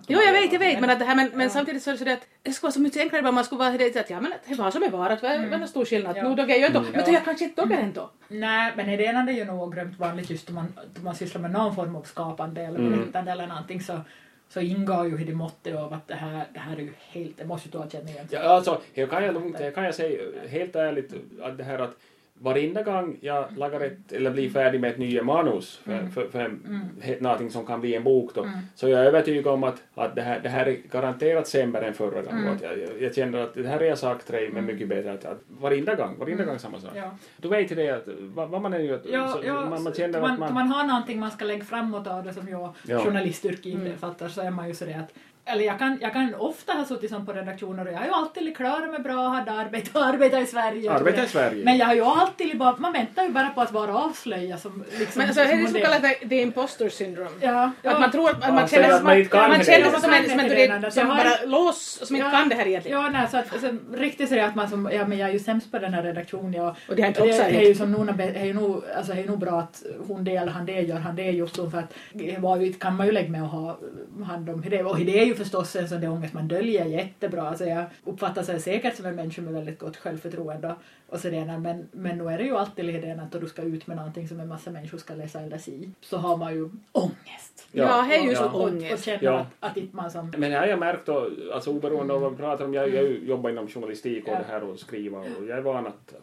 B: Jo, jag vet, jag vet, men, att det här, men, men
D: Ja.
B: samtidigt så är det så det att det skulle vara så mycket enklare om man skulle vara det att ja, men att det var som det var, att det var mm. någon stor skillnad.
D: Ja.
B: Nu dog jag ju ändå, men då
D: Ja.
B: jag kanske inte dog ändå.
D: Nej, men i det ena är det ju nog grymt vanligt just om man, om man sysslar med någon form av skapande eller
C: Mm.
D: berättande eller någonting så, så ingår ju i det måttet av att det här, det här är ju helt, det måste ju ta känna igen.
C: Ja, alltså, det kan jag lugnt, det kan jag säga helt ärligt att det här att varenda gång jag lagar ett, eller blir färdig med ett nytt manus för,
D: Mm.
C: för, för en, he- någonting som kan bli en bok då, så jag är övertygad om att, att det, här, det här är garanterat sämre än förra gången.
D: Mm.
C: och Att jag, jag- jag känner att det här har jag sagt till dig, men mycket bättre. Att, att varenda gång, varenda gång samma sak.
D: Mm. Ja.
C: Du vet ju det att vad, vad man än gör,
D: Ja,
C: så-
D: ja,
C: man, man känner
D: man,
C: att
D: man,
C: man...
D: man har någonting man ska lägga framåt av det som jag,
C: Ja.
D: journalistyrke
B: Mm.
D: innefattar, så är man ju sådär att eller jag kan, jag kan ofta ha suttit som på redaktioner och jag har ju alltid klarat mig bra, hade arbete och arbetat i Sverige.
C: Arbetar i Sverige.
D: Men jag har ju alltid bara, man väntar ju bara på att vara avslöjad som liksom...
B: Men alltså, det är det som
D: modell.
B: kallas the, the imposter syndrome.
D: Ja,
B: Att man tror att man
C: Ja,
B: känner
C: säger
B: sig
C: att man inte kan
B: man
C: det.
B: känner sig som
D: Man
B: en som,
D: kan
B: en-
D: inte det,
B: som,
D: jag har-
B: bara lås, som inte kan det här egentligen.
D: Ja, nej, så att, så, riktigt så är det att man som, ja men jag är ju sämst på den här redaktionen. Jag,
B: Och det har inte också
D: är
B: gjort.
D: ju som Nona, Be- det är ju nog, alltså det är ju nog bra att hon det eller han det gör han det just då för att det var ju, kan man ju lägga med och ha hand om det. Och det är ju förstås en sån där ångest man döljer jättebra. Alltså jag uppfattar sig säkert som en människa med väldigt gott självförtroende och sådär men, men nu är det ju alltid det där att då du ska ut med någonting som en massa människor ska läsa eller si så har man ju ångest.
C: Ja.
B: Ja, det är ju
C: Ja.
B: så
D: Och, och, och
B: ångest.
D: känner
C: Ja.
D: att, att inte man som
C: Men det har jag märkt, då, alltså oberoende av vad vi pratar om, jag, jag jobbar inom journalistik och
D: Ja.
C: det här och skriva och jag är van att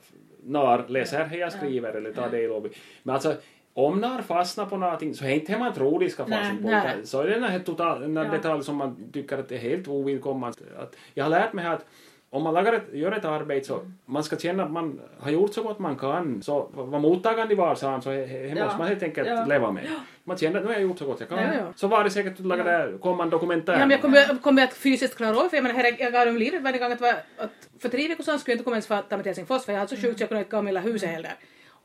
C: när läser här jag skriver eller tar del av. Men alltså om när fastnar på någonting så är inte det man tror det ska fastna
D: Nej,
C: på.
B: nej.
C: utan Så är det den här total, den här
D: Ja.
C: detalj som man tycker att det är helt ovidkommande. Att jag har lärt mig här att om man lagar ett, gör ett arbete så
D: Mm.
C: man ska känna att man har gjort så gott man kan. Så vad mottagande var sa han, så he, he,
D: Ja.
C: måste man helt enkelt
D: Ja.
C: leva med. Man känner att nu har jag gjort så gott jag kan.
B: Ja, ja.
C: Så var det säkert att laga det här, komma en dokumentär.
B: Ja, men jag kommer, kommer jag att fysiskt klara av för jag menar, herre, jag gav dem livet varje gång att, var, att för tre veckor sedan skulle jag inte komma ens för att ta mig till Helsingfors för jag hade så sjukt så jag kunde inte gå om hela huset heller.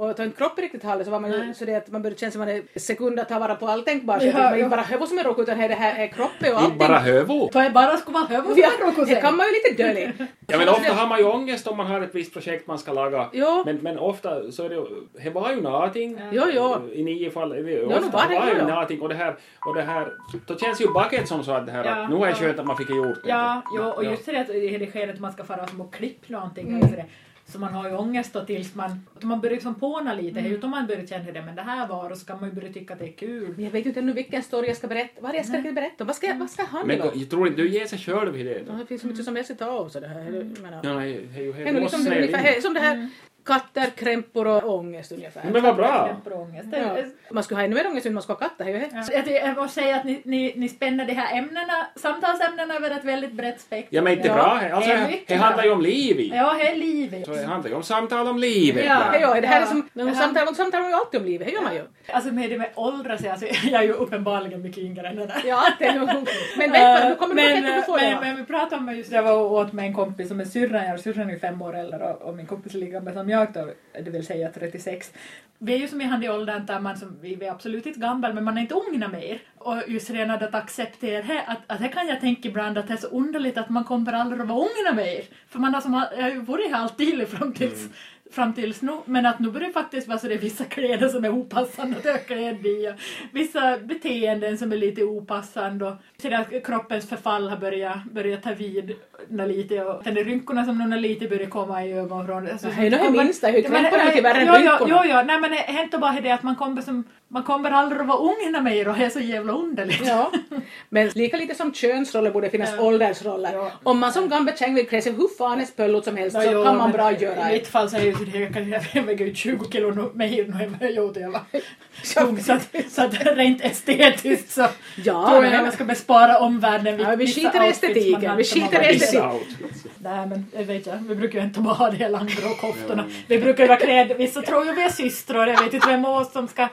B: Och att ha en kropp riktigt halv så var man ju
D: Nej.
B: så det att man började känna sig man är sekund att ta vara på all tänkbar
D: Ja,
B: sätt. Men
D: ja.
B: inte bara huvudet som är råk utan här, det här är kroppen och
C: Inte
B: allting.
C: bara hövo.
D: Ta er bara skulle vara hög och
B: Ja,
D: och
B: det kan man ju lite dölja.
C: Ja, men ofta har man ju ångest om man har ett visst projekt man ska laga.
B: Jo.
C: Men, men ofta så är det ju- det var ju någonting. Eh,
B: Jo, jo.
C: I nio fall, är det ju
B: nu
C: ofta
B: var det
C: var
B: ju
C: ju
B: då.
C: någonting. Och det här, och det här, då känns ju bucket som så att det här
D: Ja,
C: att nu är det
D: ja.
C: skönt att man fick det gjort.
D: Ja, ja, och
C: Ja.
D: just det att i det skedet att man ska fara som och klippa någonting. Mm. Det. Så man har ju ångest då tills man, att man börjar liksom påna lite. Mm. Utan man börjar känna det, men det här var och så kan man ju börja tycka att det är kul.
B: Men jag vet ju inte ännu vilken story jag ska berätta. Vad är det jag ska riktigt berätta om? Vad ska jag, vad ska jag handla
C: Men
B: om?
C: jag tror inte du ger sig själv i det.
B: Ja,
C: Då.
B: Det finns så mycket som jag ska ta av så det här. Jag menar,
C: Ja, nej, det är ju
B: Det är nog
C: helt
B: liksom det, ungefär,
C: sned.
D: Mm.
B: som det här katter, krämpor och ångest ungefär.
C: Men vad bra!
D: Temperångest.
B: Ja. Man skulle ha ännu mer ångest om man skulle ha katter. Hej och hej.
D: Ja. Jag tycker- Jag måste säga att ni, ni, ni spänner de här ämnena, samtalsämnena över ett väldigt brett spektrum.
C: Ja men inte
D: Ja.
C: bra. Alltså,
D: Det är
C: det
D: mycket
C: handlar
D: bra.
C: ju om livet.
D: Ja, hej livet.
C: Så det handlar ju om samtal om livet.
D: Ja,
C: bara.
B: Hej och hej. Det här är
D: Ja.
B: som, när man
D: Ja.
B: samtalar, man samtalar ju alltid om livet. Hej gör man ju.
D: Alltså med det med åldras, alltså, jag är ju uppenbarligen mycket yngre än det där.
B: Ja, det är nog. Men vänta, nu kommer du
D: Eh,
B: att
D: men,
B: tänka på
D: eh, men,
B: sådana.
D: men vi pratade om just, jag var och åt med en kompis som är syrran, jag syrran är ju fem år äldre och, och min kompis är lika gammal som jag då, det vill säga 36. Vi är ju som i hand i åldern där man som, vi vi är absolut inte gammal men man är inte ung mer. Och just redan att acceptera det, att, att det kan jag tänka ibland att det är så underligt att man kommer aldrig att vara ung mer. För man har, som, all- jag har ju varit här alltid fram tills fram tills nu, men att nu börjar det faktiskt vara så det är vissa kläder som är opassande att jag klädd i och vissa beteenden som är lite opassande och så där att kroppens förfall har börjat, börjat ta vid nå lite och sen de rynkorna som nu när lite börjar komma i ögonvrån. Alltså,
B: Ja, hej, nu är
D: kommer-
B: minsta, hur
D: Ja, men-
B: krämporna är mycket värre än
D: Jo, jo,
B: rynkorna.
D: Jo, jo, nej men det hänt och bara det att man kommer som, man kommer aldrig att vara ung när mer och det är så jävla underligt.
B: Ja. Men lika lite som könsroller borde finnas
D: Ja.
B: åldersroller.
D: Ja.
B: Om man som gammal käng vill klä sig hur fanes pöllot som helst
D: Nå,
B: så
D: jo,
B: kan man
D: men
B: bra göra
D: I
B: det.
D: mitt fall så är ju så det, jag, kan, jag väger ju 20 kilo nu- mer nu än vad jag gjorde. Jag var ung, så, att, så att rent estetiskt så
B: Ja,
D: tror
B: men-
D: jag att man ska bespara omvärlden
B: Ja, vi
D: vissa
B: skiter i
D: outfits man
B: estetiken,
D: har
B: vi
D: som har
B: skiter i
D: varit-
B: estetik.
C: Vissa outfits.
D: Nej men jag vet jag, vi brukar ju inte bara ha de här langgrå koftorna. Vi brukar ju vara klädda, vissa tror ju vi är systrar, jag vet inte vem av oss som ska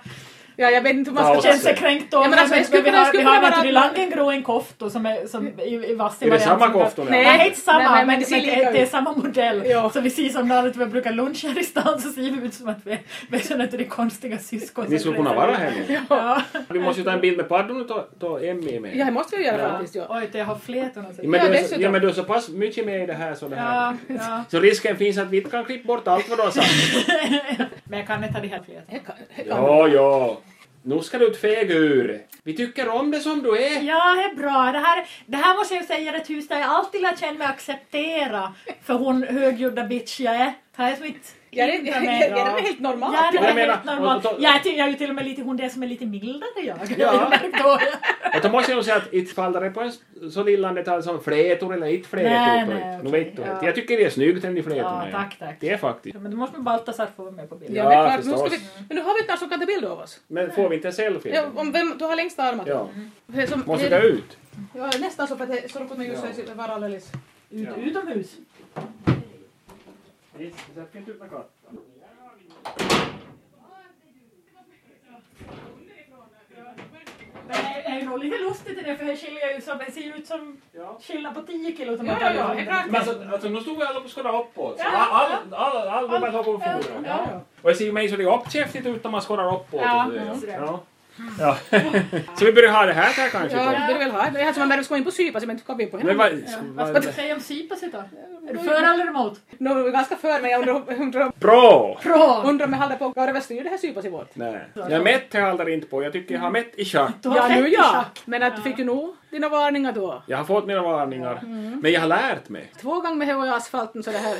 B: Ja, jag vet inte hur man ska
C: Ja, och-
D: känna sig kränkt då.
B: Ja, men alltså, det skulle
D: vi
B: kunna-
D: har,
B: skulle
D: vi
B: kunna
D: har
B: vara
D: naturligtvis
B: att-
D: langgrå en kofta som är, som, i, i vass
C: Är
D: i
C: det
D: variant
C: samma
D: som-
C: koftor?
B: Nej.
D: Nej, nej, inte samma,
B: Nej, nej,
D: men, men det, ser lika det är
B: ut.
D: samma modell.
B: Ja.
D: Så vi ser som när vi brukar luncha här i stan så ser vi ut som att vi, vi känner till de konstiga syskon.
C: Ni skulle kunna vara här nu.
D: Ja.
C: Vi måste ju ta en bild med paddon och ta, ta Emmy med.
B: Ja, det måste vi ju göra faktiskt. Ja.
D: Oj, det har flätorna. så-
C: Ja, men,
B: Ja,
C: du, är så,
B: dessutom.
C: ja, men du är så pass mycket med i det här så det här.
D: Ja, ja.
C: Så risken finns att vi inte kan klippa bort allt vad du har sagt.
D: Men jag kan inte ha de här flätorna.
B: Det kan- det kan-
C: Ja, ja. Nu ska du inte fega ur. Vi tycker om det som du är.
D: Ja, det är bra. Det här, det här måste jag ju säga är ett hus där jag alltid lär känna mig acceptera för hon högljudda bitch jag är. Det här är som inte
B: Ja, det-
D: hindrar
B: ja,
D: mig.
B: ja, det är väl helt normalt.
D: Ja, det
C: Jag
D: är väl
C: menar,
D: helt normalt.
C: och- och-
D: Jag är, till, jag är ju till och med lite hon där som är lite mildare jag.
C: Ja.
D: Då-
C: Och då måste jag nog säga att inte faller det på en s- så lilla detalj som flätor eller inte flätor.
D: Nej,
C: då
D: nej,
C: inte. Nu
D: okej,
C: vet du
D: ja.
C: inte. Jag tycker det är snyggt den i flätorna.
D: Ja, tack, tack.
C: Det är faktiskt.
D: Ja, Men då måste man Baltasar få vara med på bilden.
B: Ja, det är
C: Ja,
B: klart. Nu ska vi,
C: förstås.
B: men nu har vi ett som kan ta bild av oss.
C: Men får vi inte en selfie?
B: Ja, om vem, du har längsta armarna.
C: Ja.
B: Det är som-
C: Måste vi
B: det-
C: ta ut?
B: Ja, nästan så för att det står på mig just här, det var alldeles.
D: Ut,
C: Ja.
D: Utomhus. Men det är ju nog lite lustigt det där för det skiljer ju som, det ser ju ut som
C: Ja.
D: skillnad på 10 kilo. som
B: Ja,
D: man
B: ja,
D: tar
B: ja,
D: i.
B: det är klart.
C: Men alltså, alltså nu stod vi alla på skåda uppåt.
D: Ja,
C: Alla all, all, all, all, på foran.
D: Ja, ja.
C: Och det ser ju mig så det är uppkäftigt ut när man skådar uppåt.
D: Ja,
C: och så,
D: så det är.
C: ja. Ja. så vi börjar ha det här, här kanske.
B: Ja,
C: då.
B: det vill väl ha. Det är som man märker ska in på sypa så man inte kom in på
C: Men
B: henne.
C: vad,
D: Vad
C: vad,
D: ska du säga om sypaset då? Är du för eller emot?
B: Nu är vi ganska för men jag undrar, undrar,
C: Bra!
D: Bra!
B: undrar om jag håller på att gå överstyr det här sypas i vårt.
C: Nej. Jag mätt jag aldrig inte på. Jag tycker jag har mätt i schack.
D: Du har
B: Ja,
D: rätt
B: nu
D: i
B: ja.
D: schack.
B: Men att du fick ju nog dina varningar då.
C: Jag har fått mina varningar.
B: Mm.
C: Men jag har lärt mig.
B: Två gånger med huvudet i asfalten så det här.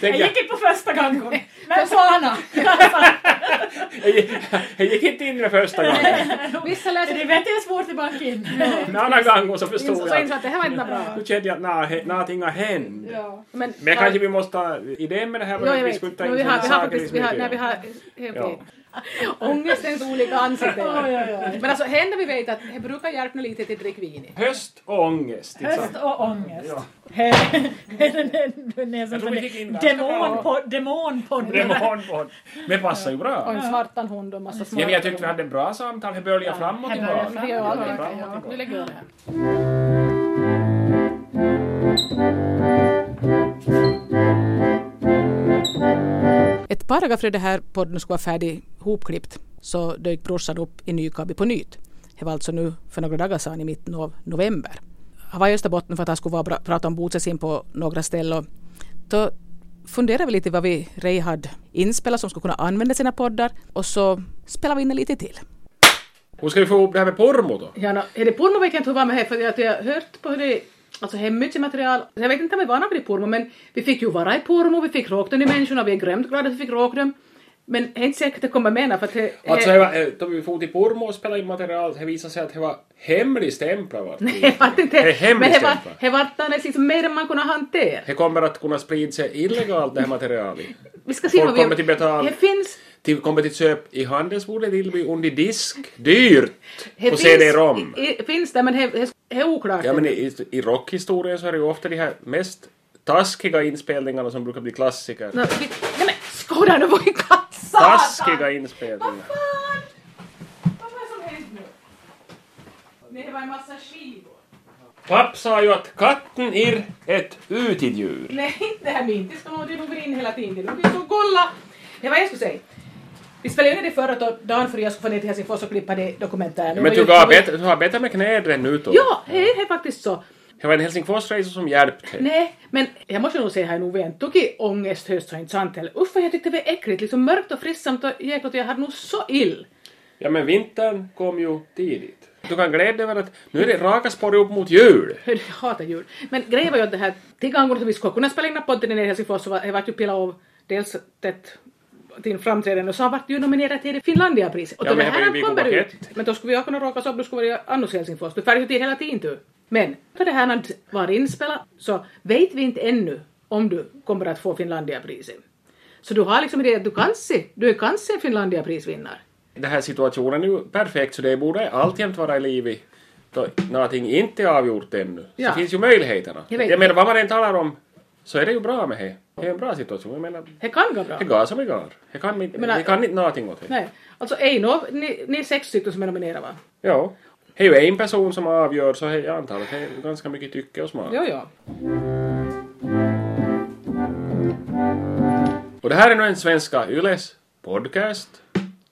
C: Tänk,
D: Jag
C: jag,
D: gick inte på första gången. Men fan!
C: jag, gick, jag gick inte in den första gången.
B: Vissa
D: Det
B: läser
D: är vet jag är svårt att banka in.
C: En annan gång och så
B: insåg
C: förstod
B: så insåg
C: jag.
B: att det här var inte bra.
C: Nu kände jag att nah, he- någonting har hänt.
D: Ja.
B: Men,
C: Men jag kanske vi måste ta idén med det här.
B: Jo, jag
C: vi
B: vet.
C: skulle
B: Men
C: ta in
B: vi har,
C: sådana
B: vi har
C: saker
B: faktiskt,
C: som
B: vi har,
C: vi
B: nej, vi
C: gör.
B: har, helt
C: Ja.
B: okej. Ångestens olika ansikten.
D: Oj, oj, oj.
B: Men alltså det enda vi vet är att det brukar hjälpa nog lite till drickvin.
C: Höst och ångest. inte sant?
D: Höst och ångest.
C: Ja.
D: Den är
C: Jag tror
D: som
C: vi fick in
D: en
C: ganska
D: demonpod- demonpodd.
C: Det var hårdbord. Men passar ju
B: Och
C: bra.
B: en svartan hund och massa små...
C: Ja, men jag tyckte vi hade en bra samtal. Det började framåt
D: det
C: i
D: började
C: bra.
B: Det gör
C: Det började
B: alla.
C: framåt i
B: Ja,
C: bra.
B: Nu lägger jag det här. Ett par dagar före det här podden skulle vara färdig hopklippt så dök brorsan upp i Nykabi på nytt. Det var alltså nu för några dagar sedan i mitten av november. Han var i Österbotten för att han skulle vara bra- prata om bosättning på några ställen. och Då funderade vi lite vad vi rej hade inspelat som skulle kunna använda sina poddar och så spelade vi in det lite till.
C: Hur ska vi få ihop det här med pormo då?
B: Ja, no, är det porno vet jag inte hur var med här, för jag, jag har hört på hur det Alltså det är mycket material. Jag vet inte om vi är vana vid porno men vi fick ju vara i porno, vi fick råka de människorna, vi är grämt glada att vi fick råka dem. Men det är inte säkert att det kommer mena för att det,
C: Alltså, det var, eh, då vi for till Pormo och spelade in material, det visade sig att det var hemligstämplat. vart
B: det var inte
C: Det är
B: det. Men det var,
C: hemligstämplat.
B: det var alldeles liksom mer än man kunde hantera.
C: Det kommer att kunna sprida sig illegalt det här materialet.
B: Vi ska se
C: Folk
B: vad vi...
C: kommer till betal.
B: Det finns...
C: Till, kommer till köp i handelsbordet till vi under disk. Dyrt!
B: Det
C: På
B: finns-
C: CD-ROM.
B: i- finns det, men det- det det är oklart.
C: Ja men i, i rockhistorien så är det ju ofta de här mest taskiga inspelningarna som brukar bli klassiker.
B: Nå, vi- Nej men, skåda nu var i kassa!
C: Taskiga inspelningar.
D: Fan! Vad var det som hände nu?
B: Nej, det var en massa skivor.
C: Papp sa ju att katten är ett utedjur.
B: Nej, inte det här min. Det ska nog du går in hela tiden. Du vill så kolla. Det var jag skulle säga. Vi spelade in det förra då- dagen före jag skulle få ner till Helsingfors och klippa det dokumentären.
C: Men du, gav bet, du har bättre med knäder än utåt.
B: Ja, det är det faktiskt så.
C: Det var en Helsingforsresa som hjälpte.
B: Nej, men jag måste nog säga här nog en tokig ångesthöst så inte sant heller. Uff, vad jag tyckte det var äckligt. Liksom mörkt och frissamt och jäkligt och jag hade nog så ill.
C: Ja men vintern kom ju tidigt. Du kan glädja dig över att nu är det raka spår upp mot jul.
B: Hörde, Jag hatar jul. Men grejen var ju att det här, till gången som vi skulle kunna spela in den här podden i Helsingfors så var, det vart ju pilla av dels det din framträdande och så har varit ju nominerad till det Finlandiapriset. Och
C: Ja,
B: då
C: men
B: det
C: här
B: här
C: blir
B: vi
C: ju
B: kommer
C: komplett.
B: ut. Men då skulle vi ha kunnat råka så upp, då skulle vi ha annars Helsingfors. Du färgade till hela tiden du. Men då det här när det var inspelat så vet vi inte ännu om du kommer att få Finlandiapriset. Så du har liksom det att du kanske, du är kanske en Finlandiaprisvinnare.
C: Den här situationen är ju perfekt så det borde alltjämt vara i livet. Då någonting inte är avgjort ännu.
B: Ja.
C: Så finns ju möjligheterna.
B: Jag
C: Jag,
B: vet.
C: menar vad man än talar om så är det ju bra med det. Det är en bra situation. Jag menar,
B: Det kan gå bra.
C: det går som det går. Det kan, inte-
B: menar-
C: det kan inte någonting åt det.
B: Nej, alltså Eino, ni, ni är sex stycken som är nominerade va?
C: Ja. Det är ju en person som avgör så jag antar att det är ganska mycket tycke och smak.
B: Jo, jo.
C: Och det här är nu en svenska Yles podcast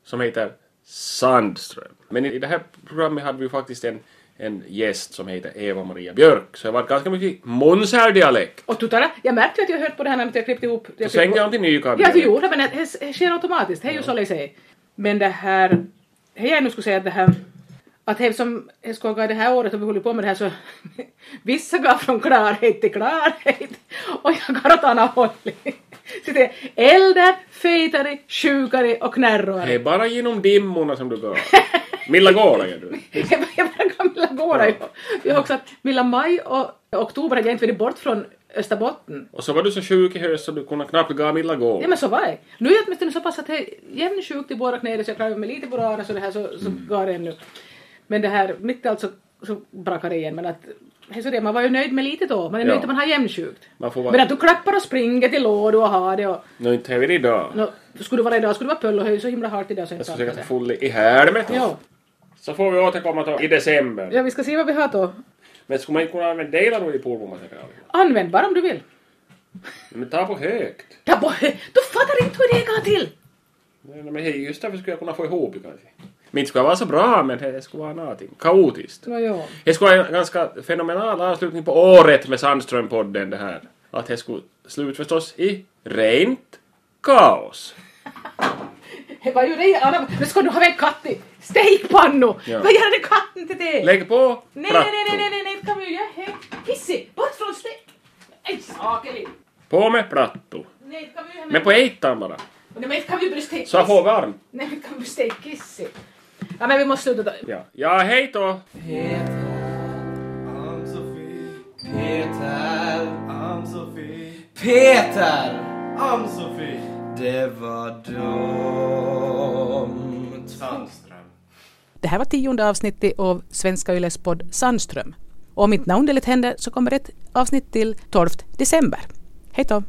C: som heter Sandström. Men i i det här programmet hade vi ju faktiskt en, en gäst som heter Eva-Maria Björk, så det var ganska mycket Månsärdialekt.
B: Och tutara, jag märkte ju att jag hört på det här när jag klippte ihop.
C: Så
B: Jag klippte
C: svängde
B: ihop.
C: jag till Nykan.
B: Ja, du gjorde men det det sker automatiskt. Det är ju så det sig. Men det här, det jag nu skulle säga att det här, att det som jag ska gå i det här året och vi håller på med det här så vissa går från klarhet till klarhet och jag går åt annat håll. Så det är äldre, fetare, sjukare och
C: Det
B: knärrare.
C: är bara genom dimmorna som du går. Milla går är du.
B: Jag bara- jag bara kan Milla Gåra. Jag- Jag har också att Milla Maj och Oktober har jag inte varit bort från Österbotten.
C: Och så var du så sjuk i höst så du kunde knappt gå Milla går.
B: Ja men så var det. Nu är jag åtminstone så pass att jag är jämnsjuk i båda knäna så jag klarar mig lite på röra så det här så, så
C: Mm.
B: går det ännu. Men det här, mitt i allt så, så brakar det igen men att hej, så det, man var ju nöjd med lite då, man är
C: Ja.
B: nöjd att man har jämnsjukt.
C: Man får vara-
B: Men att du klappar och springer till lådor och har det och...
C: Nå inte är vi det idag.
B: No, skulle du vara idag skulle du vara pöll och höj så himla hårt idag så
C: Jag
B: inte
C: ska försöka
B: allt
C: ta
B: det.
C: full i helvete.
B: Ja.
C: Så får vi återkomma till i december.
B: ja, vi ska se vad vi har då.
C: Men skulle man inte kunna använda delar av det pulvermaterialet?
B: Använd bara om du vill.
C: Men ta på högt.
B: Ja, boy, du fattar inte hur det går till!
C: Nej, men hej, just därför skulle jag kunna få ihop det kanske. Men inte skulle vara så bra, men det skulle vara någonting. Kaotiskt.
B: Nå, ja.
C: Det skulle vara en ganska fenomenal avslutning på året med Sandström-podden det här. Att det skulle slut förstås i rent kaos.
B: Det var ju det Anna, nu ska du ha en katt i stekpanno!
C: Ja.
B: Vad gör den katten till det?
C: Lägg på
B: Nej, nej,
C: plattor.
B: nej, nej, nej, nej, det kan vi ju göra helt pissig. Bort från steg. Nej, sakelig.
C: På med plattor.
B: Nej, det kan vi ju göra
C: Men på ettan bara.
B: Nej, men det kan vi ju bli steg
C: Så jag får varmt.
B: Nej, men det kan vi bli steg kissig. Ja, men vi måste sluta då.
C: Ja. ja, hej då!
A: I'm Sophie. Peter, I'm Sophie. Peter, I'm Sophie. Det var dumt. Sandström.
B: Det här var tionde avsnittet av Svenska Yles podd Sandström. Och om inte någondeligt händer så kommer ett avsnitt till 12 december. Hej då!